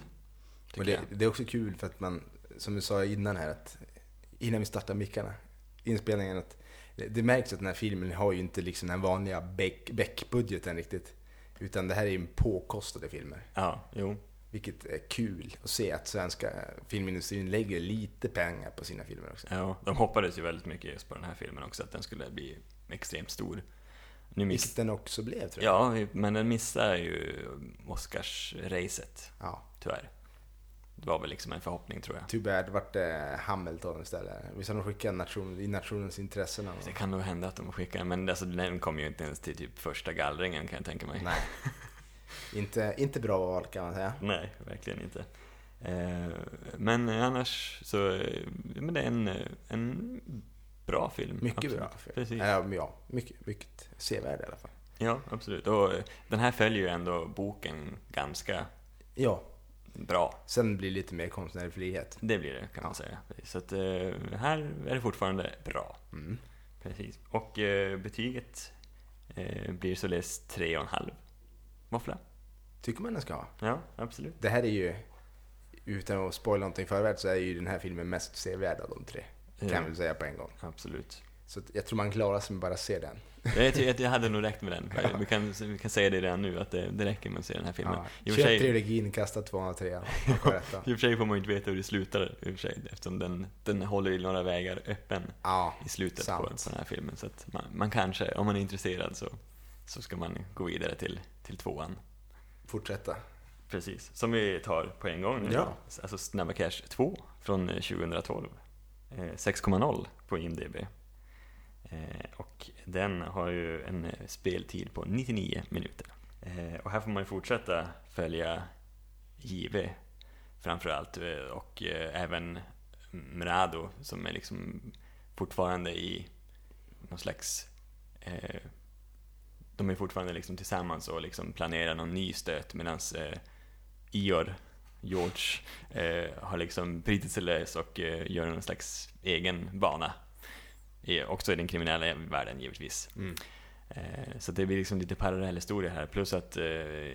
Speaker 1: Tycker
Speaker 2: Och det,
Speaker 1: jag.
Speaker 2: det är också kul för att man, som du sa innan här, att innan vi startar mickarna, inspelningen, att det det märks att den här filmen har ju inte liksom den vanliga Beck- Beck-budgeten riktigt. Utan det här är ju en påkostade filmer.
Speaker 1: Ja, jo.
Speaker 2: Vilket är kul att se att svenska filmindustrin lägger lite pengar på sina filmer också.
Speaker 1: Ja, de hoppades ju väldigt mycket just på den här filmen också, att den skulle bli extremt stor. Nu miss...
Speaker 2: Vilket den också blev tror jag.
Speaker 1: Ja, men den missar ju Oscars-racet,
Speaker 2: Ja.
Speaker 1: tyvärr. Det var väl liksom en förhoppning, tror jag.
Speaker 2: Too bad vart det Hamilton istället. Visst har de skickat nation, i nationens intressen? Och...
Speaker 1: Det kan nog hända att de skickar, men alltså, den kom ju inte ens till typ första gallringen kan jag tänka mig.
Speaker 2: Nej. inte, inte bra val kan man säga.
Speaker 1: Nej, verkligen inte. Eh, Men annars så, eh, men det är en, eh, en bra film.
Speaker 2: Mycket
Speaker 1: absolut.
Speaker 2: bra film.
Speaker 1: Precis.
Speaker 2: Ja, men ja, mycket, mycket sevärd i alla fall.
Speaker 1: Ja, absolut. Och eh, den här följer ju ändå boken ganska
Speaker 2: Ja,
Speaker 1: bra.
Speaker 2: sen blir det lite mer konstnärlig frihet. Mm.
Speaker 1: Det blir det kan man säga. Så att eh, här är det fortfarande bra. Precis. Och eh, betyget eh, blir således 3,5 våffla.
Speaker 2: Tycker man den ska ha.
Speaker 1: Ja, absolut.
Speaker 2: Det här är ju, utan att spoila någonting förvärt, så är ju den här filmen mest sevärd av de tre. Kan
Speaker 1: Ja.
Speaker 2: jag väl säga på en gång.
Speaker 1: Eh, Absolut.
Speaker 2: Så att jag tror man klarar sig med bara att se den.
Speaker 1: Jag, tycker att jag hade nog räckt med den. Vi kan, vi kan säga det redan nu, att eh, det, det räcker med att se den här filmen.
Speaker 2: Ja.
Speaker 1: I och för
Speaker 2: Köp
Speaker 1: sig-
Speaker 2: trilogin, kasta tvåan och trean. och kör
Speaker 1: (laughs)
Speaker 2: ettan.
Speaker 1: I och för sig får man ju inte veta hur det slutar, i och för sig, eftersom den, den håller ju några vägar öppen
Speaker 2: Ja,
Speaker 1: i slutet på, på
Speaker 2: Sant.
Speaker 1: den här filmen. Så att man, man kanske, om man är intresserad, så, så ska man gå vidare till, till tvåan.
Speaker 2: fortsätta.
Speaker 1: Precis, som vi tar på en gång nu.
Speaker 2: Ja.
Speaker 1: Alltså Snabba Cash 2 från eh, 2012. Eh, 6,0 på IMDB. Eh, Och den har ju en eh, speltid på 99 minuter. Eh, Och här får man ju fortsätta följa JW framförallt och eh, även Mrado som är liksom fortfarande i någon slags eh, de är fortfarande liksom tillsammans och liksom planerar någon ny stöt medan eh, Ior, George, eh, har liksom brutit sig lös och eh, gör någon slags egen bana. I, också i den kriminella världen givetvis.
Speaker 2: Mm.
Speaker 1: Eh, så det blir liksom lite parallellhistoria här. Plus att eh,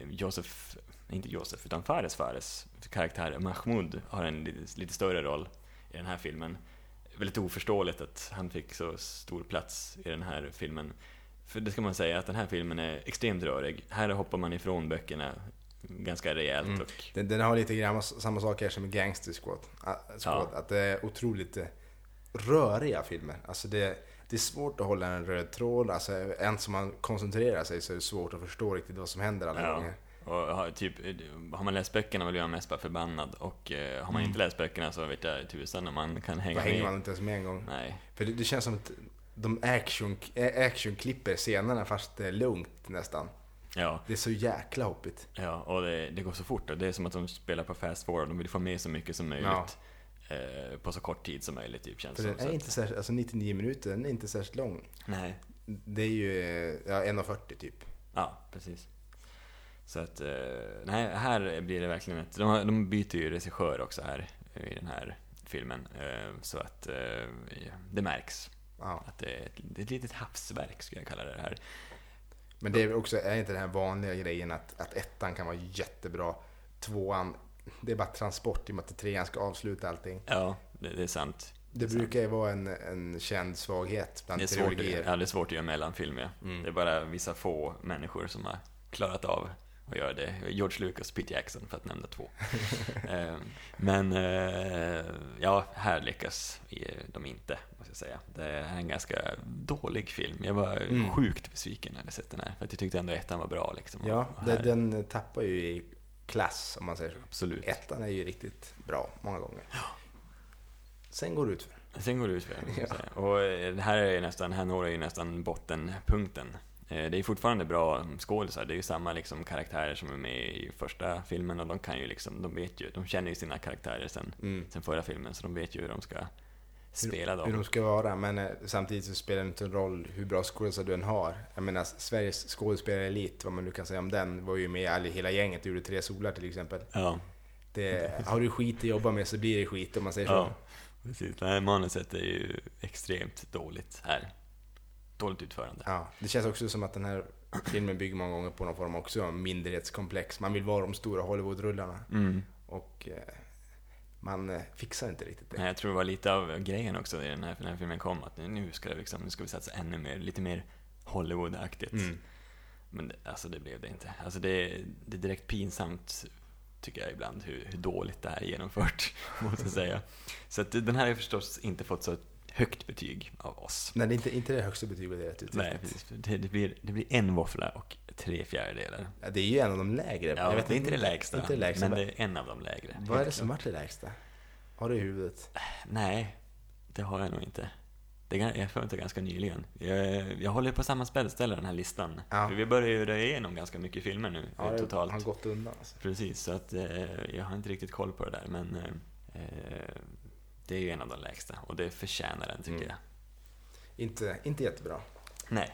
Speaker 1: Josef, inte Josef, utan Fares Fares karaktär Mahmoud har en lite, lite större roll i den här filmen. Väldigt oförståeligt att han fick så stor plats i den här filmen. För det ska man säga, att den här filmen är extremt rörig. Här hoppar man ifrån böckerna ganska rejält.
Speaker 2: Mm.
Speaker 1: Och,
Speaker 2: Den, den har lite grann samma sak här som Gangster Squad. Ah, squad Att det är otroligt eh, röriga filmer. Alltså det, det är svårt att hålla en röd tråd. Alltså, en som man koncentrerar sig så är det svårt att förstå riktigt vad som händer alla
Speaker 1: Ja.
Speaker 2: gånger.
Speaker 1: och har, typ, har man läst böckerna blir man mest bara förbannad. Och eh, har man inte läst böckerna så vet jag tusan om man kan
Speaker 2: Mm.
Speaker 1: hänga
Speaker 2: Då hänger
Speaker 1: med.
Speaker 2: man inte ens med en gång.
Speaker 1: Nej,
Speaker 2: För det, det känns som att de action, ä- actionklipper scenerna fast det är lugnt nästan.
Speaker 1: ja.
Speaker 2: Det är så jäkla hoppigt.
Speaker 1: Ja, och det, det går så fort. Och det är som att de spelar på fast forward. De vill få med så mycket som möjligt. Eh, på så kort tid som möjligt, typ, känns
Speaker 2: För
Speaker 1: som.
Speaker 2: den
Speaker 1: Så
Speaker 2: är
Speaker 1: att-
Speaker 2: inte särskilt, alltså 99 minuter, den är inte särskilt lång.
Speaker 1: Nej,
Speaker 2: Det är ju eh, ja, 1.40 typ.
Speaker 1: ja, precis. Så att, eh, nej, här blir det verkligen ett... De, har- de byter ju regissör också här i den här filmen. Eh, så att eh, det märks.
Speaker 2: Ja.
Speaker 1: Att det är ett, det är ett litet havsverk, skulle jag kalla det här.
Speaker 2: Men det är väl också, är inte den här vanliga grejen att, att ettan kan vara jättebra, tvåan, det är bara transport i och med att trean ska avsluta allting.
Speaker 1: Ja, det, det är sant.
Speaker 2: Det
Speaker 1: är sant.
Speaker 2: brukar ju vara en, en känd svaghet bland
Speaker 1: det är, svårt,
Speaker 2: trilogier.
Speaker 1: ja, det är svårt att göra mellanfilm, ja.
Speaker 2: Mm.
Speaker 1: Det är bara vissa få människor som har klarat av att göra det. George Lucas, Pete Jackson, för att nämna
Speaker 2: (laughs)
Speaker 1: två. Eh, Men, eh, ja, här lyckas de inte, måste jag säga. Det är en ganska dålig film. Jag var
Speaker 2: Mm.
Speaker 1: sjukt besviken när jag sett den här, för att jag tyckte ändå ettan var bra liksom.
Speaker 2: Ja,
Speaker 1: Och
Speaker 2: det,
Speaker 1: här-
Speaker 2: den tappar ju i klass om man säger så.
Speaker 1: Absolut.
Speaker 2: Ettan är ju riktigt bra många gånger. Sen går det ut för.
Speaker 1: Sen går det utför.
Speaker 2: Ja.
Speaker 1: Ja. Och eh, det här är ju nästan, här når det ju nästan bottenpunkten. Eh, Det är fortfarande bra skådisar, det är ju samma liksom karaktärer som är med i första filmen och de kan ju liksom, de vet ju, de känner ju sina karaktärer sen,
Speaker 2: Mm.
Speaker 1: sen förra filmen så de vet ju hur de ska spela dem.
Speaker 2: Hur de ska vara, men eh, samtidigt så spelar det inte en roll hur bra skådespelare du än har. Jag menar, Sveriges skådespelarelit, vad man nu kan säga om den, var ju med i all- hela gänget och gjorde Tre solar till exempel.
Speaker 1: Ja,
Speaker 2: Det, har du skit att jobba med så blir det skit om man säger
Speaker 1: ja, precis. Det här manuset är ju extremt dåligt här. Dåligt utförande.
Speaker 2: så. Ja, det känns också som att den här filmen bygger många gånger på någon form också av mindretskomplex. Man vill vara de stora Hollywoodrullarna
Speaker 1: Mm.
Speaker 2: och eh, man eh, fixar inte riktigt det.
Speaker 1: Nej, jag tror det var lite av grejen också i den här, när filmen kom, att nu ska, det liksom, nu ska vi satsa ännu mer, lite mer Hollywood-aktigt.
Speaker 2: Mm.
Speaker 1: Men det- alltså det blev det inte. Alltså det, det är direkt pinsamt tycker jag ibland hur, hur dåligt det här är genomfört, (laughs) måste jag säga. Så att den här har förstås inte fått så högt betyg av oss.
Speaker 2: Nej, det är inte, inte det högsta betyget det är rätt ut.
Speaker 1: Nej, precis. det, det, blir, det blir en våffla och tre fjärdedelar.
Speaker 2: Ja, Det är ju en av de lägre.
Speaker 1: Ja, det är inte det lägsta,
Speaker 2: Inte det lägsta.
Speaker 1: men
Speaker 2: Men
Speaker 1: det är en av de lägre.
Speaker 2: Vad är det
Speaker 1: Helt
Speaker 2: som
Speaker 1: klart.
Speaker 2: varit det lägsta? Har du i huvudet?
Speaker 1: Nej, det har jag nog inte. Det kan, jag får inte ganska nyligen. Jag, jag håller på samma spelställe den här listan.
Speaker 2: Ja.
Speaker 1: För vi börjar ju röja igenom ganska mycket filmer nu eh,
Speaker 2: det
Speaker 1: totalt.
Speaker 2: har gått undan. Alltså.
Speaker 1: Precis, så att eh, jag har inte riktigt koll på det där men eh, eh, det är ju en av de lägsta och det förtjänar den tycker
Speaker 2: Mm.
Speaker 1: jag.
Speaker 2: Inte, inte jättebra.
Speaker 1: Nej,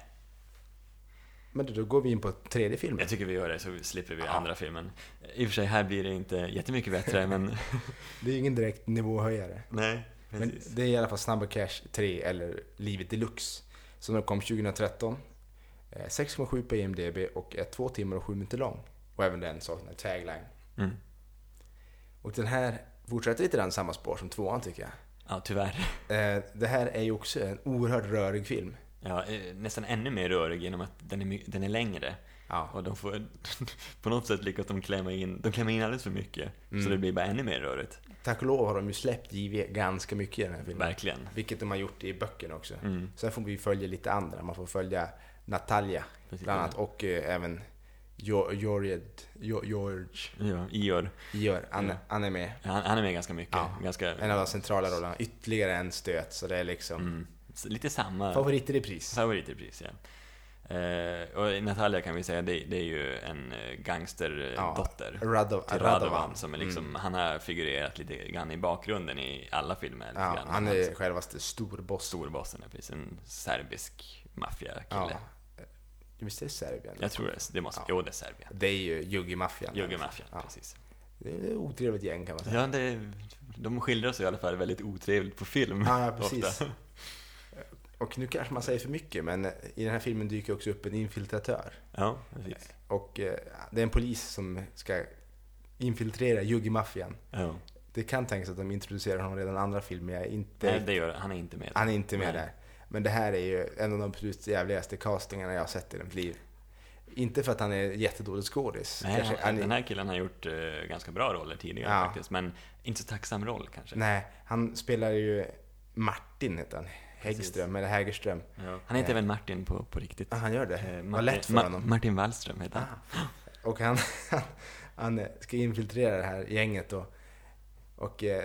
Speaker 2: Men då går vi in på tredje filmen.
Speaker 1: jag tycker vi gör det så slipper vi
Speaker 2: Ja.
Speaker 1: andra filmen. I och för sig, här blir det inte jättemycket
Speaker 2: (laughs)
Speaker 1: bättre men
Speaker 2: Det är ju ingen direkt nivåhöjare.
Speaker 1: nej,
Speaker 2: Men
Speaker 1: precis.
Speaker 2: det är i alla fall Snabba Cash 3 eller Livet Deluxe. Som den kom 2013. Eh, 6,7 på IMDB och är 2 timmar och 7 minuter lång. Och även den saknar tagline.
Speaker 1: Mm.
Speaker 2: Och den här fortsätter lite grann samma spår som tvåan tycker jag.
Speaker 1: Ja, tyvärr.
Speaker 2: Eh, det här är ju också en oerhört rörig film.
Speaker 1: Ja, eh, nästan ännu mer rörig genom att den är, my- den är längre.
Speaker 2: Ja.
Speaker 1: Och de får (laughs) på något sätt lyckas de klämma in, de klämmer in alldeles för mycket.
Speaker 2: Mm.
Speaker 1: Så det blir bara ännu mer rörigt.
Speaker 2: Tack och lov har de ju släppt JW ganska mycket i den här filmen.
Speaker 1: Verkligen.
Speaker 2: Vilket de har gjort i böckerna också.
Speaker 1: Mm.
Speaker 2: Sen får vi följa lite andra. Man får följa Natalia
Speaker 1: Precis.
Speaker 2: bland annat och eh, även Jo- Jorjed, Jo- George
Speaker 1: Ja, Ior.
Speaker 2: Ior. Han,
Speaker 1: Ja.
Speaker 2: han är med.
Speaker 1: Han, han är med ganska mycket.
Speaker 2: Ja.
Speaker 1: Ganska,
Speaker 2: En av de centrala rollerna. Ytterligare en stöt. Så det är liksom
Speaker 1: mm, s- lite samma
Speaker 2: favorit i repris.
Speaker 1: favorit i pris, ja. Eh, och Natalia kan vi säga, det, det är ju en eh, gangsterdotter.
Speaker 2: Radov,
Speaker 1: till
Speaker 2: Radovan. Mm.
Speaker 1: Radovan som är liksom, han har figurerat lite grann i bakgrunden i alla filmer. Lite
Speaker 2: Ja,
Speaker 1: grann.
Speaker 2: han är självaste storboss.
Speaker 1: storbossen, ja, precis. En serbisk
Speaker 2: Ja. Eh,
Speaker 1: maffiakille.
Speaker 2: Visst är det Serbien?
Speaker 1: Jag tror det, det måste,
Speaker 2: Ja.
Speaker 1: jo det är Serbien.
Speaker 2: Det är ju Juggi-maffian.
Speaker 1: Juggemaffian,
Speaker 2: Ja.
Speaker 1: precis.
Speaker 2: Det är ett otrevligt gäng kan man säga.
Speaker 1: Ja, det, de skildras i alla fall väldigt otrevligt på film.
Speaker 2: Ja, ja, precis.
Speaker 1: ofta.
Speaker 2: Och nu kanske man säger för mycket, men i den här filmen dyker också upp en infiltratör.
Speaker 1: Ja, precis.
Speaker 2: Och eh, det är en polis som ska infiltrera Juggi-maffian.
Speaker 1: Ja.
Speaker 2: Det kan tänkas att de introducerar honom redan i andra filmer. Jag är inte,
Speaker 1: Nej, det gör han är inte med.
Speaker 2: han är inte med
Speaker 1: Nej.
Speaker 2: där. Men det här är ju en av de absolut jävligaste castingarna jag har sett i mitt liv. Inte för att han är jättedålig skådis.
Speaker 1: Nej,
Speaker 2: Kanske-
Speaker 1: han,
Speaker 2: han är-
Speaker 1: den här killen har gjort eh, ganska bra roller tidigare
Speaker 2: Ja.
Speaker 1: faktiskt, men inte så tacksam roll kanske.
Speaker 2: nej, han spelar ju Martin, heter han. Häggström, eller Hägerström.
Speaker 1: Ja. Han heter
Speaker 2: Eh.
Speaker 1: även Martin på, på riktigt.
Speaker 2: Ah, han gör det?
Speaker 1: Eh,
Speaker 2: Vad lätt för
Speaker 1: Ma-
Speaker 2: honom.
Speaker 1: Martin Wallström heter han.
Speaker 2: Och han, (laughs) han eh, ska infiltrera det här gänget då. Och eh,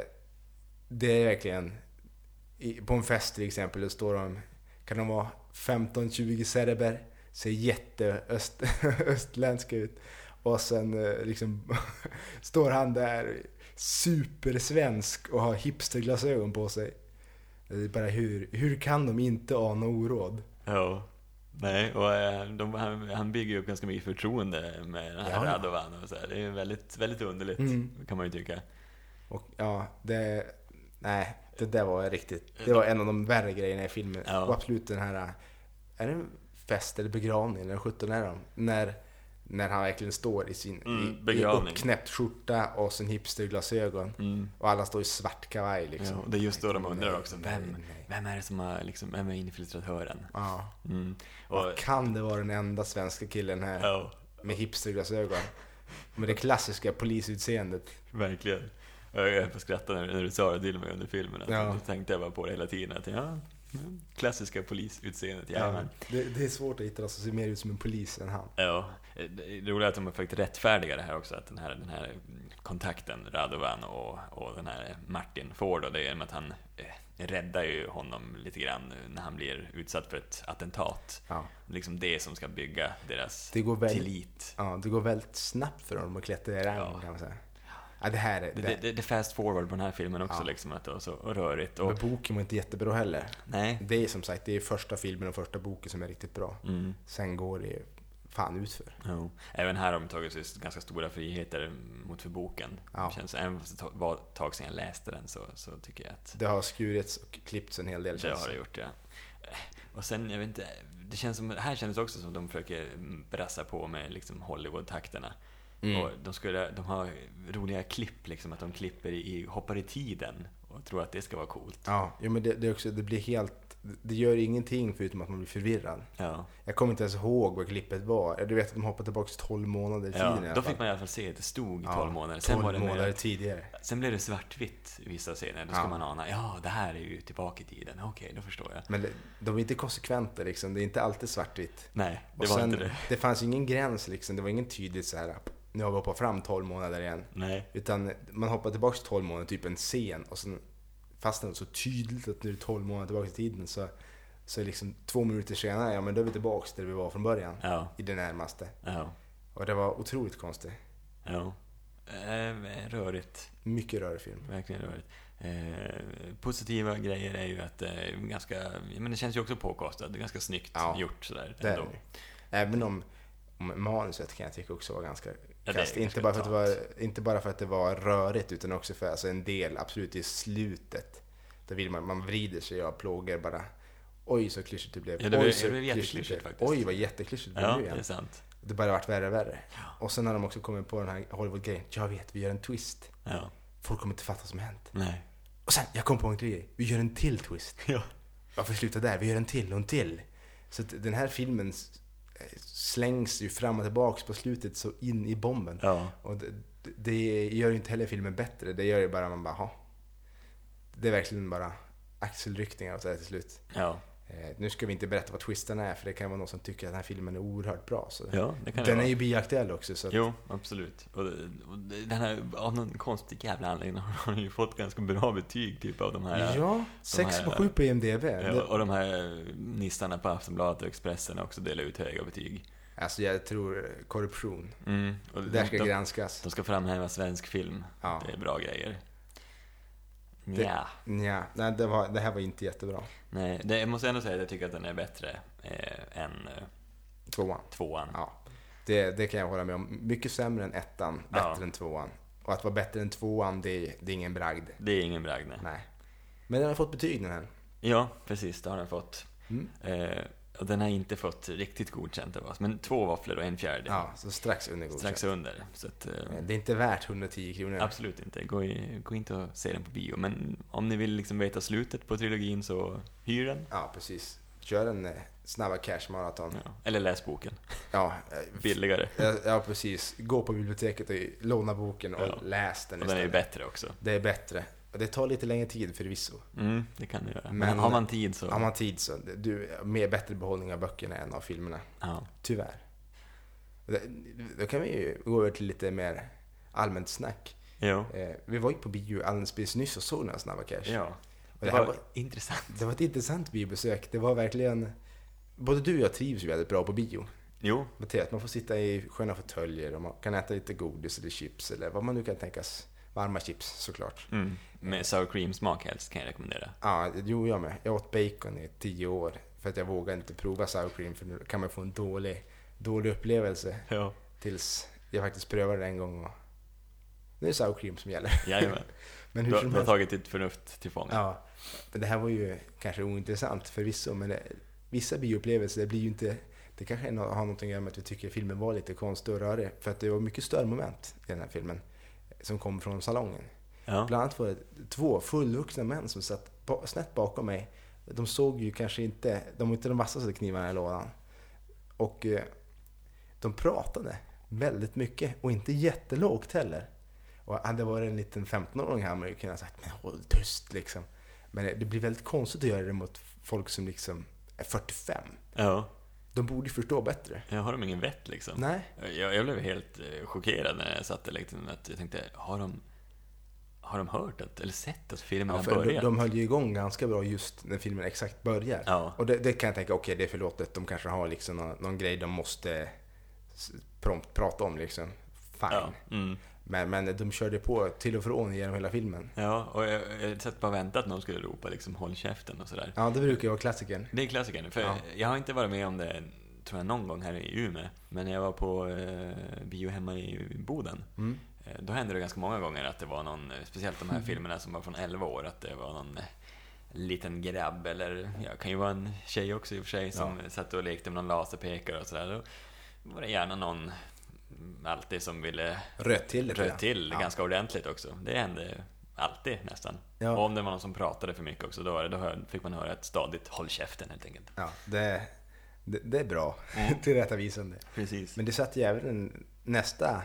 Speaker 2: det är verkligen, i- på en fest till exempel, då står de, kan de vara 15-20 serber, ser jätteöst, (laughs) östländska ut. Och sen eh, liksom (laughs) står han där supersvensk och har hipsterglasögon på sig. Det är bara hur, hur kan de inte ana oråd?
Speaker 1: Ja. Nej, och eh, de, han, han bygger ju upp ganska mycket förtroende med den här
Speaker 2: Ja, ja.
Speaker 1: Radovan och så här. Det är väldigt, väldigt underligt,
Speaker 2: Mm.
Speaker 1: kan man ju tycka.
Speaker 2: Och ja, det... Nej, det där var riktigt... Det var en av de värre grejerna i filmen.
Speaker 1: Ja.
Speaker 2: Och absolut den här... Är det en fest eller begravning? Eller 17 är de? När, när han verkligen står i sin
Speaker 1: Mm,
Speaker 2: i, i
Speaker 1: begravning.
Speaker 2: uppknäppt skjorta och sin hipsterglasögon.
Speaker 1: Mm.
Speaker 2: Och alla står i svart kavaj liksom.
Speaker 1: Ja, och det är just då de undrar också,
Speaker 2: Nej,
Speaker 1: vem,
Speaker 2: nej, nej.
Speaker 1: vem är det som har, liksom, vem är infiltratören?
Speaker 2: Ja.
Speaker 1: Mm. Och,
Speaker 2: Kan det vara den enda svenska killen här
Speaker 1: ja,
Speaker 2: med hipsterglasögon? Med det klassiska polisutseendet.
Speaker 1: verkligen. Jag höll på att skratta när, när du sa det till mig under filmen. Alltså,
Speaker 2: Ja.
Speaker 1: Då tänkte jag bara på det hela tiden. Att, ja, mm, klassiska polisutseendet, jajamän.
Speaker 2: Det, det är svårt att hitta någon som ser mer ut som en polis än han.
Speaker 1: Ja, det det roliga är att de har försökt rättfärdiga det här också, att den här, den här mm, kontakten, Radovan och, och den här Martin får då, det är genom att han eh, räddar ju honom lite grann när han blir utsatt för ett attentat.
Speaker 2: Ja.
Speaker 1: Liksom det som ska bygga deras
Speaker 2: Det går väldigt-
Speaker 1: tillit.
Speaker 2: Ja, det går väldigt snabbt för honom att klättra i rang
Speaker 1: Ja.
Speaker 2: kan man säga. Ja, det här är...
Speaker 1: Det,
Speaker 2: Det,
Speaker 1: det, det, det är fast forward på den här filmen också,
Speaker 2: Ja.
Speaker 1: liksom, att det var så rörigt.
Speaker 2: men
Speaker 1: Och,
Speaker 2: boken var inte jättebra heller.
Speaker 1: nej.
Speaker 2: Det är som sagt, det är första filmen och första boken som är riktigt bra.
Speaker 1: Mm.
Speaker 2: Sen går det ju fan utför.
Speaker 1: Jo. Även här har de tagit sig ganska stora friheter mot för boken.
Speaker 2: Ja.
Speaker 1: Känns, även fast det ta- var ett tag sedan jag läste den så, så tycker jag att
Speaker 2: Det har skurits och klippts en hel del
Speaker 1: Det
Speaker 2: känns
Speaker 1: har det gjort, ja. Och sen, jag vet inte, det känns som, här känns det också som att de försöker brassa på med liksom Hollywood-takterna.
Speaker 2: Mm.
Speaker 1: Och de, skulle, de har roliga klipp, liksom, att de klipper i, hoppar i tiden och tror att det ska vara coolt.
Speaker 2: Ja, jo, men det, det, är också, det blir helt... Det gör ingenting förutom att man blir förvirrad.
Speaker 1: Ja.
Speaker 2: Jag kommer inte ens ihåg vad klippet var. Du vet att de hoppar tillbaka 12 månader i tiden i
Speaker 1: ja.
Speaker 2: alla
Speaker 1: Då
Speaker 2: fall.
Speaker 1: fick man i alla fall se att det stod i
Speaker 2: Ja,
Speaker 1: 12 månader. Sen,
Speaker 2: 12
Speaker 1: var det mer-
Speaker 2: månader tidigare.
Speaker 1: sen blev det svartvitt i vissa scener. Då ska
Speaker 2: Ja.
Speaker 1: man ana, ja, det här är ju tillbaka i tiden. Okej, då förstår jag.
Speaker 2: Men det, de är inte konsekventa liksom. Det är inte alltid svartvitt.
Speaker 1: Nej, det
Speaker 2: och
Speaker 1: var
Speaker 2: sen,
Speaker 1: inte det.
Speaker 2: det fanns ju ingen gräns liksom. Det var ingen tydlig så här, nu har vi hoppat fram 12 månader igen.
Speaker 1: Nej.
Speaker 2: Utan man hoppar tillbaka 12 månader, typ en scen. Och sen, fast det var så tydligt att nu är det 12 månader tillbaka i tiden så, så är liksom två minuter senare, ja men då är vi tillbaka där vi var från början.
Speaker 1: Ja.
Speaker 2: I det närmaste.
Speaker 1: Ja.
Speaker 2: Och det var otroligt konstigt.
Speaker 1: Ja. Eh, Rörigt.
Speaker 2: Mycket rörig film.
Speaker 1: Verkligen rörigt. Eh, positiva grejer är ju att eh, ganska, ja, men det känns ju också påkostat. Det är ganska snyggt
Speaker 2: Ja,
Speaker 1: gjort sådär
Speaker 2: Det är
Speaker 1: ändå.
Speaker 2: det. Även om, om manuset kan jag tycka också var ganska
Speaker 1: det är
Speaker 2: kast.
Speaker 1: ganska
Speaker 2: Inte bara, för att det
Speaker 1: tamt.
Speaker 2: var, inte bara för att det var rörigt utan också för alltså en del, absolut i slutet. Då vill man, man vrider sig av plågor bara. Oj så klyschigt det blev.
Speaker 1: Ja, det
Speaker 2: Oj,
Speaker 1: blev-
Speaker 2: så
Speaker 1: det blev
Speaker 2: klyschigt
Speaker 1: jätteklyschigt
Speaker 2: blev.
Speaker 1: faktiskt.
Speaker 2: Oj vad jätteklyschigt det
Speaker 1: Ja,
Speaker 2: blev
Speaker 1: det är
Speaker 2: igen.
Speaker 1: sant.
Speaker 2: Det bara varit värre och värre. Och sen har de också kommit på den här Hollywood-grejen. Jag vet, vi gör en twist.
Speaker 1: Ja.
Speaker 2: Folk kommer inte fatta vad som hänt.
Speaker 1: Nej.
Speaker 2: Och sen, jag kom på en grej. Vi gör en till twist.
Speaker 1: Ja.
Speaker 2: Varför sluta där? Vi gör en till och en till. Så att den här filmen s- slängs ju fram och tillbaks på slutet så in i bomben.
Speaker 1: Ja.
Speaker 2: Och det, det gör ju inte heller filmen bättre. Det gör ju bara man bara, ha. Det är verkligen bara axelryckningar och så här till slut.
Speaker 1: Ja.
Speaker 2: Eh, nu ska vi inte berätta vad twisterna är för det kan vara någon som tycker att den här filmen är oerhört bra. Så.
Speaker 1: Ja, det kan det
Speaker 2: den är
Speaker 1: vara.
Speaker 2: ju bioaktuell också. Så att,
Speaker 1: Jo, absolut. Och, det- och det- den här, av någon konstig jävla anledning (laughs) har den ju fått ganska bra betyg typ av de här...
Speaker 2: ja, 6,7 på IMDB.
Speaker 1: Ja,
Speaker 2: Det,
Speaker 1: Eh, Och de här nissarna på Aftonbladet och Expressen har också delat ut höga betyg.
Speaker 2: alltså jag tror korruption.
Speaker 1: Mm. Och
Speaker 2: Det där ska
Speaker 1: de, de,
Speaker 2: granskas.
Speaker 1: de ska framhäva svensk film.
Speaker 2: Ja.
Speaker 1: Det är bra grejer. Ja.
Speaker 2: Nja, nej, det, var, det här var inte jättebra.
Speaker 1: Nej, det, jag måste ändå säga att jag tycker att den är bättre eh, än eh,
Speaker 2: Tvåan.
Speaker 1: tvåan.
Speaker 2: Ja, det, det kan jag hålla med om. Mycket sämre än ettan, bättre
Speaker 1: Ja.
Speaker 2: än tvåan. Och att vara bättre än tvåan, det, är- det är ingen bragd.
Speaker 1: Det är ingen bragd, nej.
Speaker 2: Nej. Men den har fått betyg den här.
Speaker 1: Ja, precis. Det har den fått.
Speaker 2: Mm.
Speaker 1: Eh, och den har inte fått riktigt godkänt av oss. Men två våfflor och en fjärde.
Speaker 2: Ja, så strax under godkänt.
Speaker 1: strax under. Så att, eh,
Speaker 2: Det är inte värt 110 kronor.
Speaker 1: absolut inte. Gå, i, gå inte och se den på bio. Men om ni vill liksom veta slutet på trilogin så hyr den.
Speaker 2: Ja, precis. Kör en eh, snabba cash maraton.
Speaker 1: Ja. Eller läs boken.
Speaker 2: Ja, eh,
Speaker 1: Billigare.
Speaker 2: ja, ja, precis. Gå på biblioteket och låna boken och
Speaker 1: Ja.
Speaker 2: läs den
Speaker 1: Och den är ju
Speaker 2: istället.
Speaker 1: bättre också.
Speaker 2: Det är bättre. Och det tar lite längre tid förvisso.
Speaker 1: Mm, det kan du göra. Men,
Speaker 2: Men-
Speaker 1: har man tid så...
Speaker 2: Har man tid så. Du, mer bättre behållning av böckerna än av filmerna.
Speaker 1: Ja.
Speaker 2: Tyvärr. Det- Då kan vi ju gå över till lite mer allmänt snack.
Speaker 1: Jo.
Speaker 2: Eh, vi var ju på bio alldeles precis nyss och såg den här Snabba Cash.
Speaker 1: Ja.
Speaker 2: Och
Speaker 1: Det
Speaker 2: det, här
Speaker 1: var
Speaker 2: var,
Speaker 1: intressant.
Speaker 2: det var ett intressant biobesök. Det var verkligen... Både du och jag trivs ju väldigt bra på bio.
Speaker 1: Jo,
Speaker 2: Med det att Man får sitta i sköna fåtöljer och man kan äta lite godis eller chips eller vad man nu kan tänkas. Varma chips såklart.
Speaker 1: Mm. Med sour cream smak helst kan jag rekommendera.
Speaker 2: Ja, jo jag med. Jag åt bacon i tio år för att jag vågade inte prova sour cream för nu kan man få en dålig, dålig upplevelse.
Speaker 1: Ja.
Speaker 2: Tills jag faktiskt prövade det en gång och nu är det sour cream som gäller.
Speaker 1: Jajamän.
Speaker 2: (laughs) Men
Speaker 1: Du,
Speaker 2: hur
Speaker 1: har-
Speaker 2: som
Speaker 1: du har
Speaker 2: helst.
Speaker 1: tagit ditt förnuft till fånga.
Speaker 2: Ja, men det här var ju kanske ointressant förvisso, men det, vissa bioupplevelser det blir ju inte... Det kanske är nå- har något att göra med att vi tycker filmen var lite konstig och rörig. För att det var mycket störmoment i den här filmen som kom från salongen.
Speaker 1: Ja.
Speaker 2: Bland annat var det två fullvuxna män som satt ba- snett bakom mig. De såg ju kanske inte, de var inte de vassaste knivarna i lådan. Och eh, de pratade väldigt mycket och inte jättelågt heller. Och hade det varit en liten 15-åring här hade man ju kunnat sagt men håll tyst liksom. Men det- det blir väldigt konstigt att göra det mot folk som liksom är 45.
Speaker 1: ja.
Speaker 2: De borde ju förstå bättre.
Speaker 1: Jag har de ingen vett liksom?
Speaker 2: Nej.
Speaker 1: Jag, jag blev helt eh, chockerad när jag satt där liksom, att jag tänkte, har de, har de hört att, eller sett att filmen
Speaker 2: Ja,
Speaker 1: har
Speaker 2: för de,
Speaker 1: börjat?
Speaker 2: de höll ju igång ganska bra just när filmen exakt börjar.
Speaker 1: Ja.
Speaker 2: Och det, det kan jag tänka, okej det är förlåtet. De kanske har liksom någon, någon grej de måste s- prompt prata om liksom. Fine.
Speaker 1: Ja, mm.
Speaker 2: Men, men de körde på till och från genom hela filmen.
Speaker 1: ja, och jag, jag satt bara och väntade att någon skulle ropa liksom, håll käften och sådär.
Speaker 2: Ja, det brukar ju vara klassikern.
Speaker 1: Det är klassikern, för
Speaker 2: Ja.
Speaker 1: jag har inte varit med om det, tror jag, någon gång här i Umeå. Men när jag var på eh, bio hemma i Boden,
Speaker 2: Mm.
Speaker 1: Eh, Då hände det ganska många gånger att det var någon, eh, speciellt de här filmerna som var från 11 år, att det var någon eh, liten grabb eller, ja, kan ju vara en tjej också i och för sig, som satt och lekte med någon laserpekare och sådär. Då var det gärna någon, mm, alltid, som ville
Speaker 2: Röt till lite
Speaker 1: röra
Speaker 2: grann.
Speaker 1: till
Speaker 2: ja.
Speaker 1: ganska ordentligt också. Det hände alltid nästan.
Speaker 2: Ja.
Speaker 1: Och om det var någon som pratade för mycket också, då, var det, då hör- fick man höra ett stadigt håll käften helt enkelt.
Speaker 2: Ja, det, det, det är bra.
Speaker 1: Mm.
Speaker 2: (laughs) Tillrättavisande.
Speaker 1: Precis.
Speaker 2: Men det satt djävulen nästa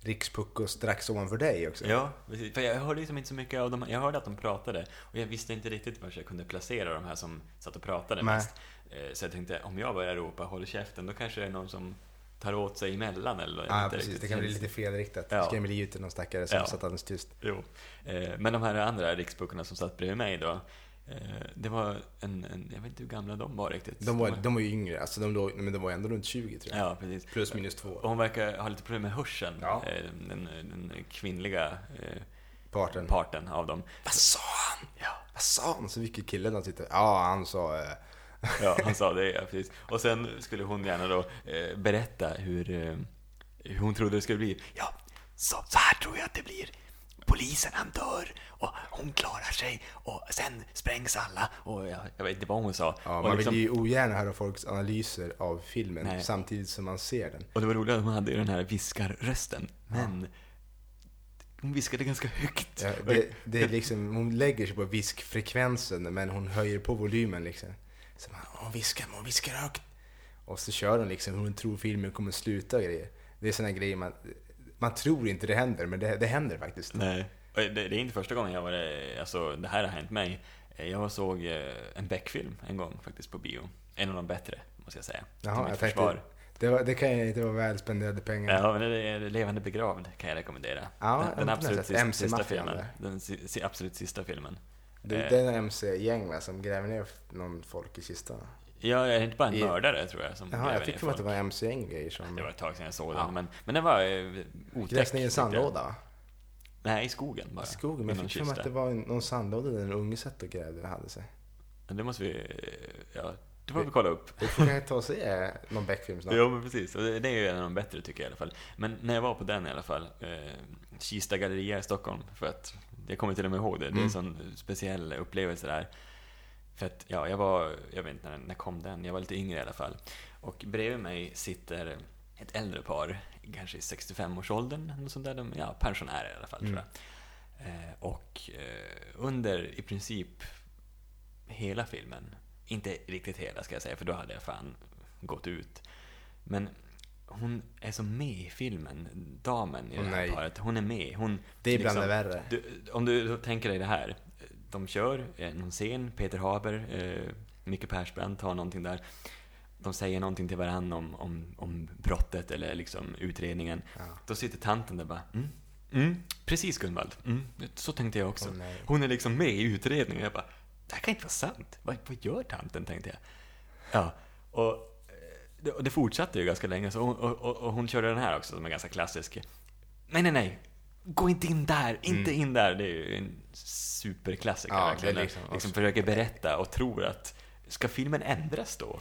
Speaker 2: rikspuckos strax ovanför dig också.
Speaker 1: Ja, precis. För jag hörde liksom inte så mycket av dem. Jag hörde att de pratade och jag visste inte riktigt var jag kunde placera de här som satt och pratade
Speaker 2: Nej.
Speaker 1: mest. Eh, Så jag tänkte, om jag börjar ropa håll käften, då kanske det är någon som tar åt sig emellan eller jag
Speaker 2: Ja,
Speaker 1: vet inte
Speaker 2: precis. Det
Speaker 1: riktigt.
Speaker 2: kan bli lite felriktat.
Speaker 1: Ja.
Speaker 2: Skrämmer ut någon stackare som
Speaker 1: Ja.
Speaker 2: satt alldeles tyst.
Speaker 1: Jo. Eh, Men de här andra riksböckerna som satt bredvid mig då, eh, det var en, en, jag vet inte hur gamla de var riktigt.
Speaker 2: De var, de var ju yngre, alltså de låg, men de var ändå runt 20 tror jag.
Speaker 1: Ja, precis.
Speaker 2: Plus minus
Speaker 1: Och
Speaker 2: två
Speaker 1: hon verkar ha lite problem med hörseln,
Speaker 2: Ja.
Speaker 1: eh, den, den kvinnliga eh,
Speaker 2: på arten.
Speaker 1: parten av dem.
Speaker 2: Vad sa han?
Speaker 1: Ja.
Speaker 2: Vad sa han? Så vilken kille han sitter. Ja, han sa... eh, (laughs)
Speaker 1: Ja, han sa det, ja, precis. Och sen skulle hon gärna då eh, berätta hur, eh, hur hon trodde det skulle bli. Ja, så här tror jag att det blir. På polisen han dör och hon klarar sig och sen sprängs alla och jag, jag vet inte vad hon sa.
Speaker 2: Ja,
Speaker 1: och,
Speaker 2: man
Speaker 1: liksom,
Speaker 2: vill ju ogärna höra folks analyser av filmen
Speaker 1: Nej.
Speaker 2: samtidigt som man ser den.
Speaker 1: och det var roligt att hon hade ju den här viskarrösten, men hon viskade ganska högt.
Speaker 2: Ja, det, det är liksom, hon lägger sig på viskfrekvensen men hon höjer på volymen liksom. Så man, hon viskar, men hon viskar högt. Och så kör hon liksom hur hon tror filmen kommer sluta och grejer. Det är såna grejer man, man tror inte det händer, men det, det händer faktiskt.
Speaker 1: Nej. Och Det, det är inte första gången jag var det, alltså det här har hänt mig. Jag var såg eh, en Beck-film en gång faktiskt på bio. En av de bättre, måste jag säga. Till
Speaker 2: Jaha,
Speaker 1: mitt
Speaker 2: jag tänkte,
Speaker 1: försvar.
Speaker 2: det, var, det kan ju inte vara väl spenderade pengar.
Speaker 1: Ja, men det är Levande begravd kan jag rekommendera.
Speaker 2: Ja,
Speaker 1: den, den
Speaker 2: jag
Speaker 1: absolut
Speaker 2: har
Speaker 1: sista,
Speaker 2: sett
Speaker 1: sista
Speaker 2: MC-maffian
Speaker 1: filmen.
Speaker 2: där.
Speaker 1: Den si, si- absolut sista filmen.
Speaker 2: Det
Speaker 1: Eh.
Speaker 2: är den MC-gäng va, som gräver ner någon folk i kistan.
Speaker 1: Ja, jag är inte bara en
Speaker 2: I-
Speaker 1: mördare tror jag som
Speaker 2: Jaha,
Speaker 1: gräver
Speaker 2: jag
Speaker 1: ner
Speaker 2: fick för mig att det
Speaker 1: folk.
Speaker 2: var MC-gäng grejer som
Speaker 1: Det var ett tag sedan jag såg
Speaker 2: Ja.
Speaker 1: den, men, men den var eh, otäck.
Speaker 2: grävs ner
Speaker 1: tyckte
Speaker 2: i en
Speaker 1: jag.
Speaker 2: sandlåda va?
Speaker 1: Nej, i skogen bara.
Speaker 2: I skogen, men
Speaker 1: I någon
Speaker 2: jag fick för mig
Speaker 1: kista.
Speaker 2: att det var en- någon sandlåda där en unge satt och grävde och hade sig.
Speaker 1: Men Det måste vi... eh, Ja, det får vi kolla upp.
Speaker 2: (laughs) Vi får kanske ta och se någon Beck-film snart.
Speaker 1: Ja men precis, och det det är ju en av de bättre tycker jag i alla fall. Men när jag var på den i alla fall, eh, Kista galleria i Stockholm, för att jag kommer till och med ihåg det, det är en sån speciell upplevelse där. För att, ja, jag var, jag vet inte när, när kom den, jag var lite yngre i alla fall. Och bredvid mig sitter ett äldre par, kanske i 65-årsåldern, något sånt där, de, ja, pensionärer i alla fall tror jag. Eh, och eh, under i princip hela filmen, inte riktigt hela ska jag säga, för då hade jag fan gått ut. Men hon är så med i filmen, damen i det
Speaker 2: Åh,
Speaker 1: här
Speaker 2: nej.
Speaker 1: paret. Hon är med. Hon, liksom
Speaker 2: Det är bland det värre.
Speaker 1: Du, om du tänker dig det här. De kör eh, någon scen, Peter Haber, eh, Micke Persbrandt har någonting där. De säger någonting till varandra om, om, om brottet eller liksom utredningen.
Speaker 2: Ja.
Speaker 1: Då sitter tanten där bara mm, mm, precis Gunvald, mm, så tänkte jag också.
Speaker 2: Åh, nej.
Speaker 1: Hon är liksom med i utredningen. Jag bara, det här kan inte vara sant. Vad, vad gör tanten, tänkte jag. Ja, och eh, det, och det fortsatte ju ganska länge. Så hon, och, och, och hon körde den här också, som är ganska klassisk. Nej, nej, nej. Gå inte in där, inte in där. Det är ju en superklassiker
Speaker 2: Mm. Ja, det är
Speaker 1: verkligen. När
Speaker 2: liksom-
Speaker 1: liksom försöker berätta och tror att, ska filmen ändras
Speaker 2: (laughs)
Speaker 1: då?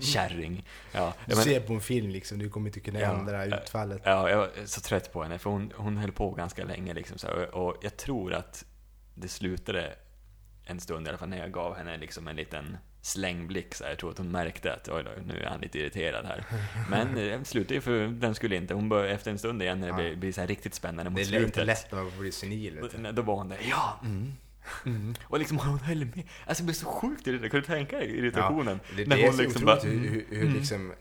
Speaker 1: Kärring. Ja,
Speaker 2: Du
Speaker 1: jag men-
Speaker 2: ser på en film liksom, du kommer inte kunna ändra
Speaker 1: Ja, eh,
Speaker 2: utfallet.
Speaker 1: Ja, jag var så trött på henne för hon, hon höll på ganska länge liksom så här, och jag tror att det slutade en stund i alla fall när jag gav henne liksom en liten slängblick så här. Jag tror att hon märkte att oj då, nu är han lite irriterad
Speaker 2: (laughs)
Speaker 1: här. Men det slutade ju för den skulle inte. Hon började efter en stund igen när det
Speaker 2: Ja.
Speaker 1: blir, blir så här riktigt spännande mot
Speaker 2: det är
Speaker 1: slutet.
Speaker 2: inte lätt när man blir senil. Vet du.
Speaker 1: Då, då var hon där, ja, mm. Mm. Och liksom hon höll med. Alltså jag blev så sjukt irriterad. Kan du tänka dig irritationen?
Speaker 2: det,
Speaker 1: när
Speaker 2: det är
Speaker 1: hon
Speaker 2: så
Speaker 1: liksom bara,
Speaker 2: otroligt hur, hur, hur liksom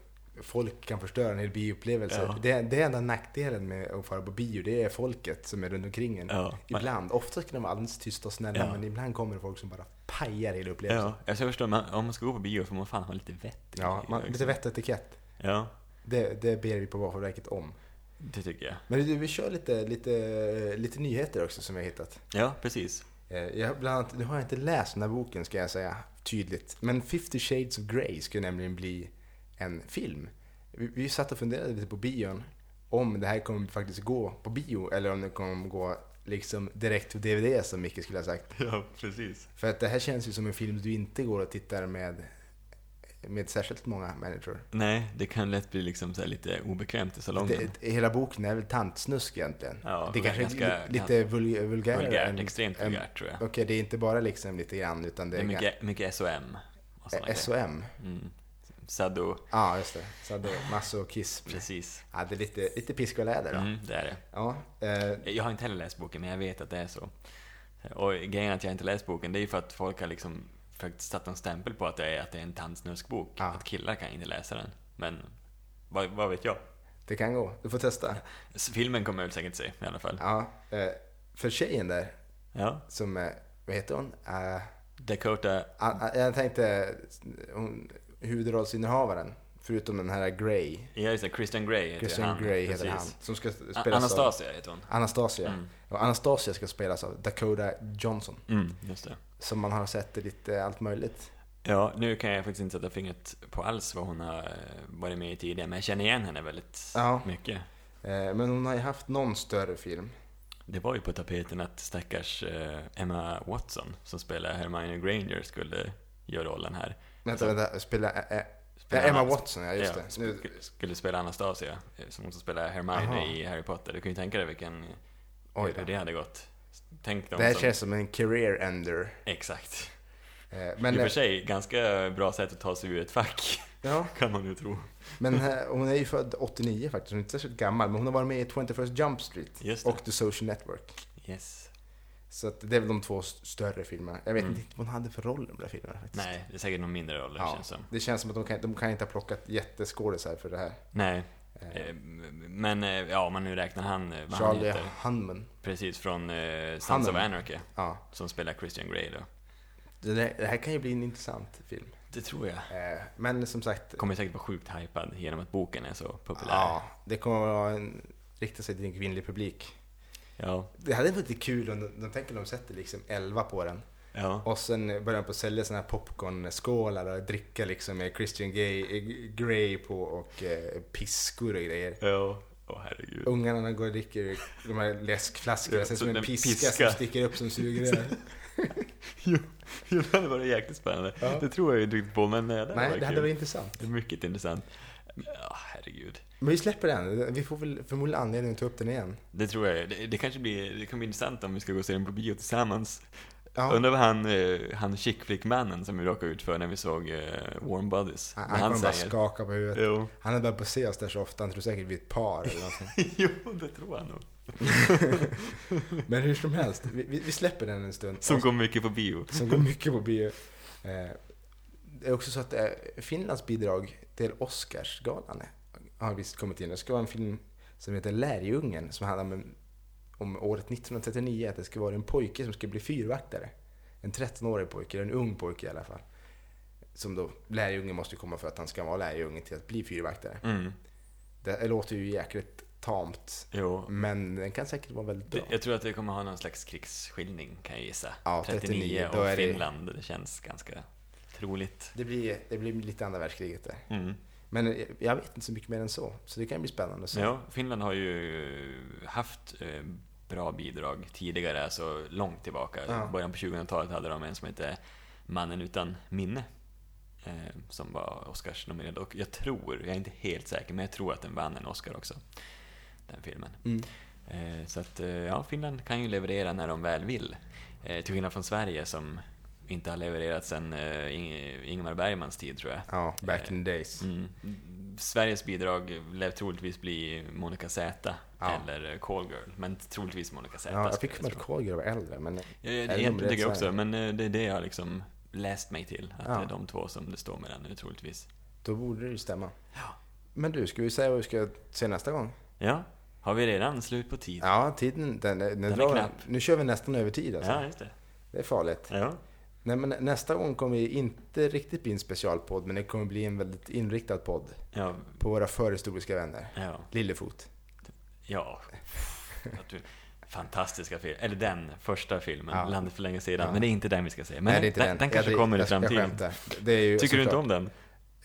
Speaker 2: folk kan förstöra en hel bioupplevelse.
Speaker 1: Ja.
Speaker 2: Det, det är enda nackdelen med att fara på bio, det är folket som är runt omkring en.
Speaker 1: Ja.
Speaker 2: Ibland, oftast kan de vara alldeles tysta och snälla,
Speaker 1: Ja.
Speaker 2: men ibland kommer det folk som bara pajar hela upplevelsen.
Speaker 1: Ja, alltså jag förstår, men om man ska gå på bio får man fan ha lite vett i
Speaker 2: Ja,
Speaker 1: det,
Speaker 2: man,
Speaker 1: liksom.
Speaker 2: lite vett och etikett.
Speaker 1: Ja,
Speaker 2: Det, det ber vi på Vapenverket om.
Speaker 1: det tycker jag.
Speaker 2: Men du, vi kör lite, lite, lite nyheter också som vi har hittat.
Speaker 1: Ja,
Speaker 2: (laughs)
Speaker 1: precis.
Speaker 2: Eh, Jag, bland annat, nu har jag inte läst den här boken ska jag säga tydligt. Men 50 Shades of Grey skulle nämligen bli en film. Vi, vi satt och funderade lite på bion. Om det här kommer faktiskt gå på bio eller om det kommer gå liksom direkt på DVD som Micke skulle ha sagt.
Speaker 1: Ja, precis.
Speaker 2: För att det här känns ju som en film du inte går och tittar med, med särskilt många människor.
Speaker 1: Nej, det kan lätt bli liksom så här lite obekvämt i salongen.
Speaker 2: Det, hela boken är väl tantsnusk egentligen.
Speaker 1: Mm. Ja,
Speaker 2: det kanske är
Speaker 1: ganska-
Speaker 2: li- lite vulg- vulgärare.
Speaker 1: vulgärt,
Speaker 2: än-
Speaker 1: extremt
Speaker 2: än-
Speaker 1: vulgärt tror jag.
Speaker 2: Okej, det är inte bara liksom lite grann utan det
Speaker 1: Det är
Speaker 2: är
Speaker 1: mycket, mycket SOM. Och såna
Speaker 2: ga- SOM.
Speaker 1: grejer. Mm. Sado,
Speaker 2: Ja, just det. Så det är masochism.
Speaker 1: precis.
Speaker 2: Ja, det är lite, lite piska och läder då.
Speaker 1: Mm, det är det.
Speaker 2: Ja, eh,
Speaker 1: Jag har inte heller läst boken, men jag vet att det är så. Och grejen att jag inte läst boken, det är ju för att folk har liksom försökt sätta en stämpel på att det är, att det är en tantsnuskbok.
Speaker 2: Ja.
Speaker 1: Att killar kan inte läsa den. Men vad, vad vet jag?
Speaker 2: det kan gå. Du får testa.
Speaker 1: Så Filmen kommer jag väl säkert se i alla fall.
Speaker 2: Ja, eh, för tjejen där,
Speaker 1: Ja.
Speaker 2: som, eh, vad heter hon? Eh,
Speaker 1: Dakota,
Speaker 2: a- a- jag tänkte hon, huvudrollsinnehavaren, förutom den här Grey.
Speaker 1: ja just det, Christian Grey heter
Speaker 2: Christian
Speaker 1: han.
Speaker 2: Grey heter
Speaker 1: precis.
Speaker 2: han. Som ska
Speaker 1: A-
Speaker 2: spelas av...
Speaker 1: Anastasia heter hon.
Speaker 2: Anastasia.
Speaker 1: Mm.
Speaker 2: Och Anastasia ska spelas av Dakota Johnson.
Speaker 1: Mm, just det.
Speaker 2: Som man har sett i lite allt möjligt.
Speaker 1: Ja, nu kan jag faktiskt inte sätta fingret på alls vad hon har eh, varit med i tidigare, men jag känner igen henne väldigt
Speaker 2: Ja.
Speaker 1: mycket.
Speaker 2: Eh, men hon har ju haft någon större film.
Speaker 1: Det var ju på tapeten att stackars eh, Emma Watson, som spelar Hermione Granger, skulle göra rollen här.
Speaker 2: Vänta, vänta. Spela, eh, eh,
Speaker 1: Spela
Speaker 2: Emma
Speaker 1: Anast-
Speaker 2: Watson, ja just
Speaker 1: Ja,
Speaker 2: det. Nu,
Speaker 1: sk- Skulle spela Anastasia, eh, som också spelar Hermione
Speaker 2: Aha.
Speaker 1: i Harry Potter. Du kan ju tänka dig vilken eh,
Speaker 2: Oj då.
Speaker 1: hur det hade gått. Tänk dem
Speaker 2: Det här
Speaker 1: som...
Speaker 2: känns som en career ender.
Speaker 1: Exakt.
Speaker 2: Eh, Men,
Speaker 1: I och
Speaker 2: eh,
Speaker 1: för sig, ganska bra sätt att ta sig ur ett fack, (laughs)
Speaker 2: ja,
Speaker 1: kan man ju tro.
Speaker 2: men eh, hon är ju född 89 faktiskt, hon är inte särskilt gammal. Men hon har varit med i 21st Jump Street
Speaker 1: Just det.
Speaker 2: och The Social Network.
Speaker 1: Yes.
Speaker 2: Så att det är väl de två st- större filmerna. Jag vet
Speaker 1: Mm.
Speaker 2: inte riktigt vad hon hade för roll i de där filmerna faktiskt.
Speaker 1: Nej, det är säkert någon mindre roll,
Speaker 2: Ja.
Speaker 1: känns som.
Speaker 2: Det känns som att de kan, de kan inte ha plockat jätteskådisar för det här.
Speaker 1: Nej,
Speaker 2: Eh,
Speaker 1: eh, men eh, ja, om man nu räknar han eh, vad han
Speaker 2: Charlie
Speaker 1: heter.
Speaker 2: Hunman.
Speaker 1: Precis, från eh, Sons of
Speaker 2: Hunnam.
Speaker 1: Anarchy,
Speaker 2: Ja.
Speaker 1: som spelar Christian Grey då.
Speaker 2: Det, där, det här kan ju bli en intressant film.
Speaker 1: Det tror jag.
Speaker 2: Eh, men som sagt,
Speaker 1: Kommer säkert vara sjukt hypad genom att boken är så populär.
Speaker 2: ja, det kommer att vara en, rikta sig till en kvinnlig publik.
Speaker 1: Ja,
Speaker 2: Det hade varit lite kul om de, de tänker de sätter liksom 11 på den.
Speaker 1: ja.
Speaker 2: Och sen börjar de på att sälja såna här popcornskålar och dricka liksom med Christian Gay, Grey på och eh, piskor och grejer.
Speaker 1: Ja, åh herregud.
Speaker 2: Ungarna när de går och dricker de här läskflaskorna,
Speaker 1: Ja,
Speaker 2: sen
Speaker 1: så
Speaker 2: som en
Speaker 1: den
Speaker 2: piska,
Speaker 1: piska.
Speaker 2: som sticker upp som sugrör.
Speaker 1: (laughs) (laughs) Jo, jo, det hade varit jäkligt spännande.
Speaker 2: Ja.
Speaker 1: Det tror jag ju inte på, men eh, det hade
Speaker 2: Nej,
Speaker 1: varit
Speaker 2: det hade
Speaker 1: kul.
Speaker 2: varit intressant.
Speaker 1: Det är mycket intressant. Ja, herregud.
Speaker 2: Men vi släpper den, vi får väl förmodligen anledning att ta upp den igen.
Speaker 1: Det tror jag. Det, det kanske blir, det kan bli intressant om vi ska gå och se den på bio tillsammans.
Speaker 2: Ja.
Speaker 1: Undrar vad han, eh, han chick flick-mannen som vi råkade ut för när vi såg eh, Warm Bodies.
Speaker 2: Han,
Speaker 1: vad
Speaker 2: han kommer bara skaka på huvudet.
Speaker 1: Jo. (laughs)
Speaker 2: Han har börjat se oss där så ofta, han tror säkert vi är ett par eller någonting. (laughs)
Speaker 1: jo, det tror han nog.
Speaker 2: Men hur som helst, vi, vi vi släpper den en stund.
Speaker 1: Som
Speaker 2: Och-
Speaker 1: går mycket på bio.
Speaker 2: som går mycket på bio. Eh, Det är också så att eh, Finlands bidrag till Oscarsgalan har visst kommit in. Det ska vara en film som heter Lärjungen som handlar om, om året 1939. Att det ska vara en pojke som ska bli fyrvaktare. En 13-årig pojke, eller en ung pojke i alla fall. Som då, lärjungen måste ju komma för att han ska vara lärjunge till att bli fyrvaktare.
Speaker 1: Mm.
Speaker 2: Det låter ju jäkligt tamt,
Speaker 1: Jo.
Speaker 2: men den kan säkert vara väldigt
Speaker 1: Det,
Speaker 2: bra.
Speaker 1: jag tror att det kommer ha någon slags krigsskildring, kan jag gissa.
Speaker 2: Ja,
Speaker 1: 39
Speaker 2: då
Speaker 1: och
Speaker 2: är det-
Speaker 1: Finland, det känns ganska troligt.
Speaker 2: Det blir, det blir lite andra världskriget där.
Speaker 1: Mm.
Speaker 2: Men eh, jag vet inte så mycket mer än så, så det kan bli spännande att se.
Speaker 1: Ja, Finland har ju haft eh, bra bidrag tidigare, alltså långt tillbaka.
Speaker 2: Ja.
Speaker 1: I början på 2000-talet hade de en som hette Mannen utan minne. Eh, som var Oscarsnominerad. Och jag tror, jag är inte helt säker, men jag tror att den vann en Oscar också. Den filmen.
Speaker 2: Mm.
Speaker 1: Eh, så att, eh, ja, Finland kan ju leverera när de väl vill. Eh, till skillnad från Sverige som inte har levererat sedan eh, Ing- Ingmar Bergmans tid tror jag.
Speaker 2: Ja, back in the days.
Speaker 1: Mm. Sveriges bidrag lär troligtvis bli Monica Z
Speaker 2: Ja.
Speaker 1: eller Call Girl, men troligtvis Monica Z.
Speaker 2: Ja, jag
Speaker 1: skulle
Speaker 2: fick mig att
Speaker 1: tro.
Speaker 2: Kolger var äldre, men
Speaker 1: Ja, ja,
Speaker 2: Eller
Speaker 1: det
Speaker 2: om det
Speaker 1: egentligen
Speaker 2: är
Speaker 1: tycker jag
Speaker 2: Sverige.
Speaker 1: också, men eh, det är det jag har liksom läst mig till. Att
Speaker 2: Ja.
Speaker 1: det är de två som det står mellan nu troligtvis.
Speaker 2: då borde det ju stämma.
Speaker 1: Ja.
Speaker 2: Men du, ska vi säga vad vi ska se nästa gång?
Speaker 1: Ja, har vi redan slut på tid?
Speaker 2: Ja, tiden den, den,
Speaker 1: är
Speaker 2: drar.
Speaker 1: knapp.
Speaker 2: Nu kör vi nästan över tid alltså.
Speaker 1: Ja, just det.
Speaker 2: Det är farligt.
Speaker 1: Ja.
Speaker 2: Nej, men nästa gång kommer vi inte riktigt bli en specialpodd, men det kommer bli en väldigt inriktad podd
Speaker 1: Ja,
Speaker 2: på våra förhistoriska vänner.
Speaker 1: ja,
Speaker 2: Lillefot.
Speaker 1: ja. Att du- Fantastiska film, eller den första filmen,
Speaker 2: Ja.
Speaker 1: Landet för länge sedan.
Speaker 2: Ja.
Speaker 1: Men det är inte den vi ska se. Men den, den kanske
Speaker 2: Jag-
Speaker 1: kommer i
Speaker 2: jag- jag
Speaker 1: framtiden.
Speaker 2: skämtar. Det är ju
Speaker 1: Tycker du inte
Speaker 2: såklart-
Speaker 1: om den?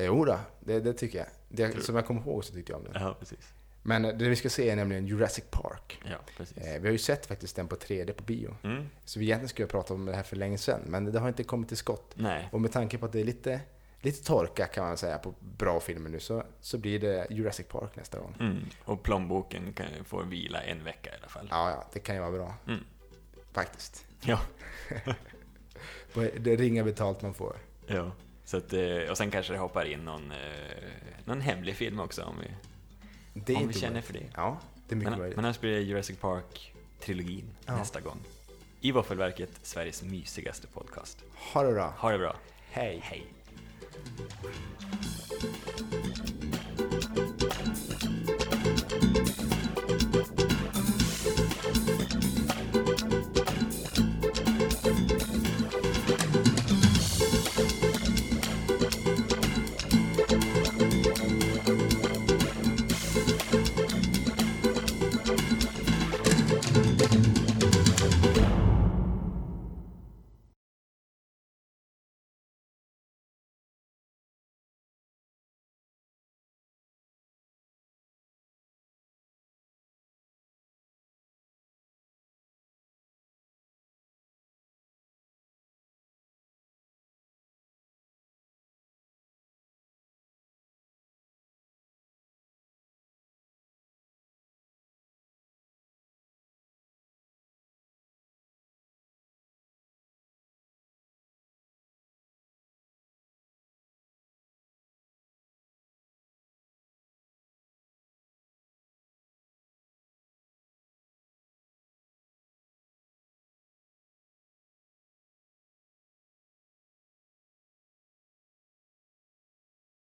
Speaker 2: Jo då, det, det tycker jag.
Speaker 1: Tror-
Speaker 2: Det, som jag kommer ihåg så tyckte jag om den.
Speaker 1: Ja, precis.
Speaker 2: Men eh, det vi ska se är nämligen Jurassic Park.
Speaker 1: Ja, precis.
Speaker 2: Eh, Vi har ju sett faktiskt den på 3D på bio.
Speaker 1: Mm.
Speaker 2: Så vi egentligen skulle ha pratat om det här för länge sedan, men det har inte kommit till skott.
Speaker 1: Nej,
Speaker 2: Och med tanke på att det är lite, lite torka kan man säga på bra filmer nu så, så blir det Jurassic Park nästa gång.
Speaker 1: Mm. Och plånboken kan, får vila en vecka i alla fall.
Speaker 2: Ja, ja, det kan ju vara bra
Speaker 1: Mm.
Speaker 2: faktiskt.
Speaker 1: Ja.
Speaker 2: På Det ringa betalt man får.
Speaker 1: ja. Så att, eh, och sen kanske det hoppar in någon, eh, någon hemlig film också om vi,
Speaker 2: Det är
Speaker 1: om vi
Speaker 2: inte
Speaker 1: känner
Speaker 2: omöjligt.
Speaker 1: för det.
Speaker 2: Ja, det är mycket
Speaker 1: Men, men
Speaker 2: möjligt.
Speaker 1: annars blir det Jurassic Park-trilogin
Speaker 2: Ja.
Speaker 1: nästa gång. I Våffelverket, Sveriges mysigaste podcast.
Speaker 2: Ha det bra.
Speaker 1: Ha det bra.
Speaker 2: Hej.
Speaker 1: Hej.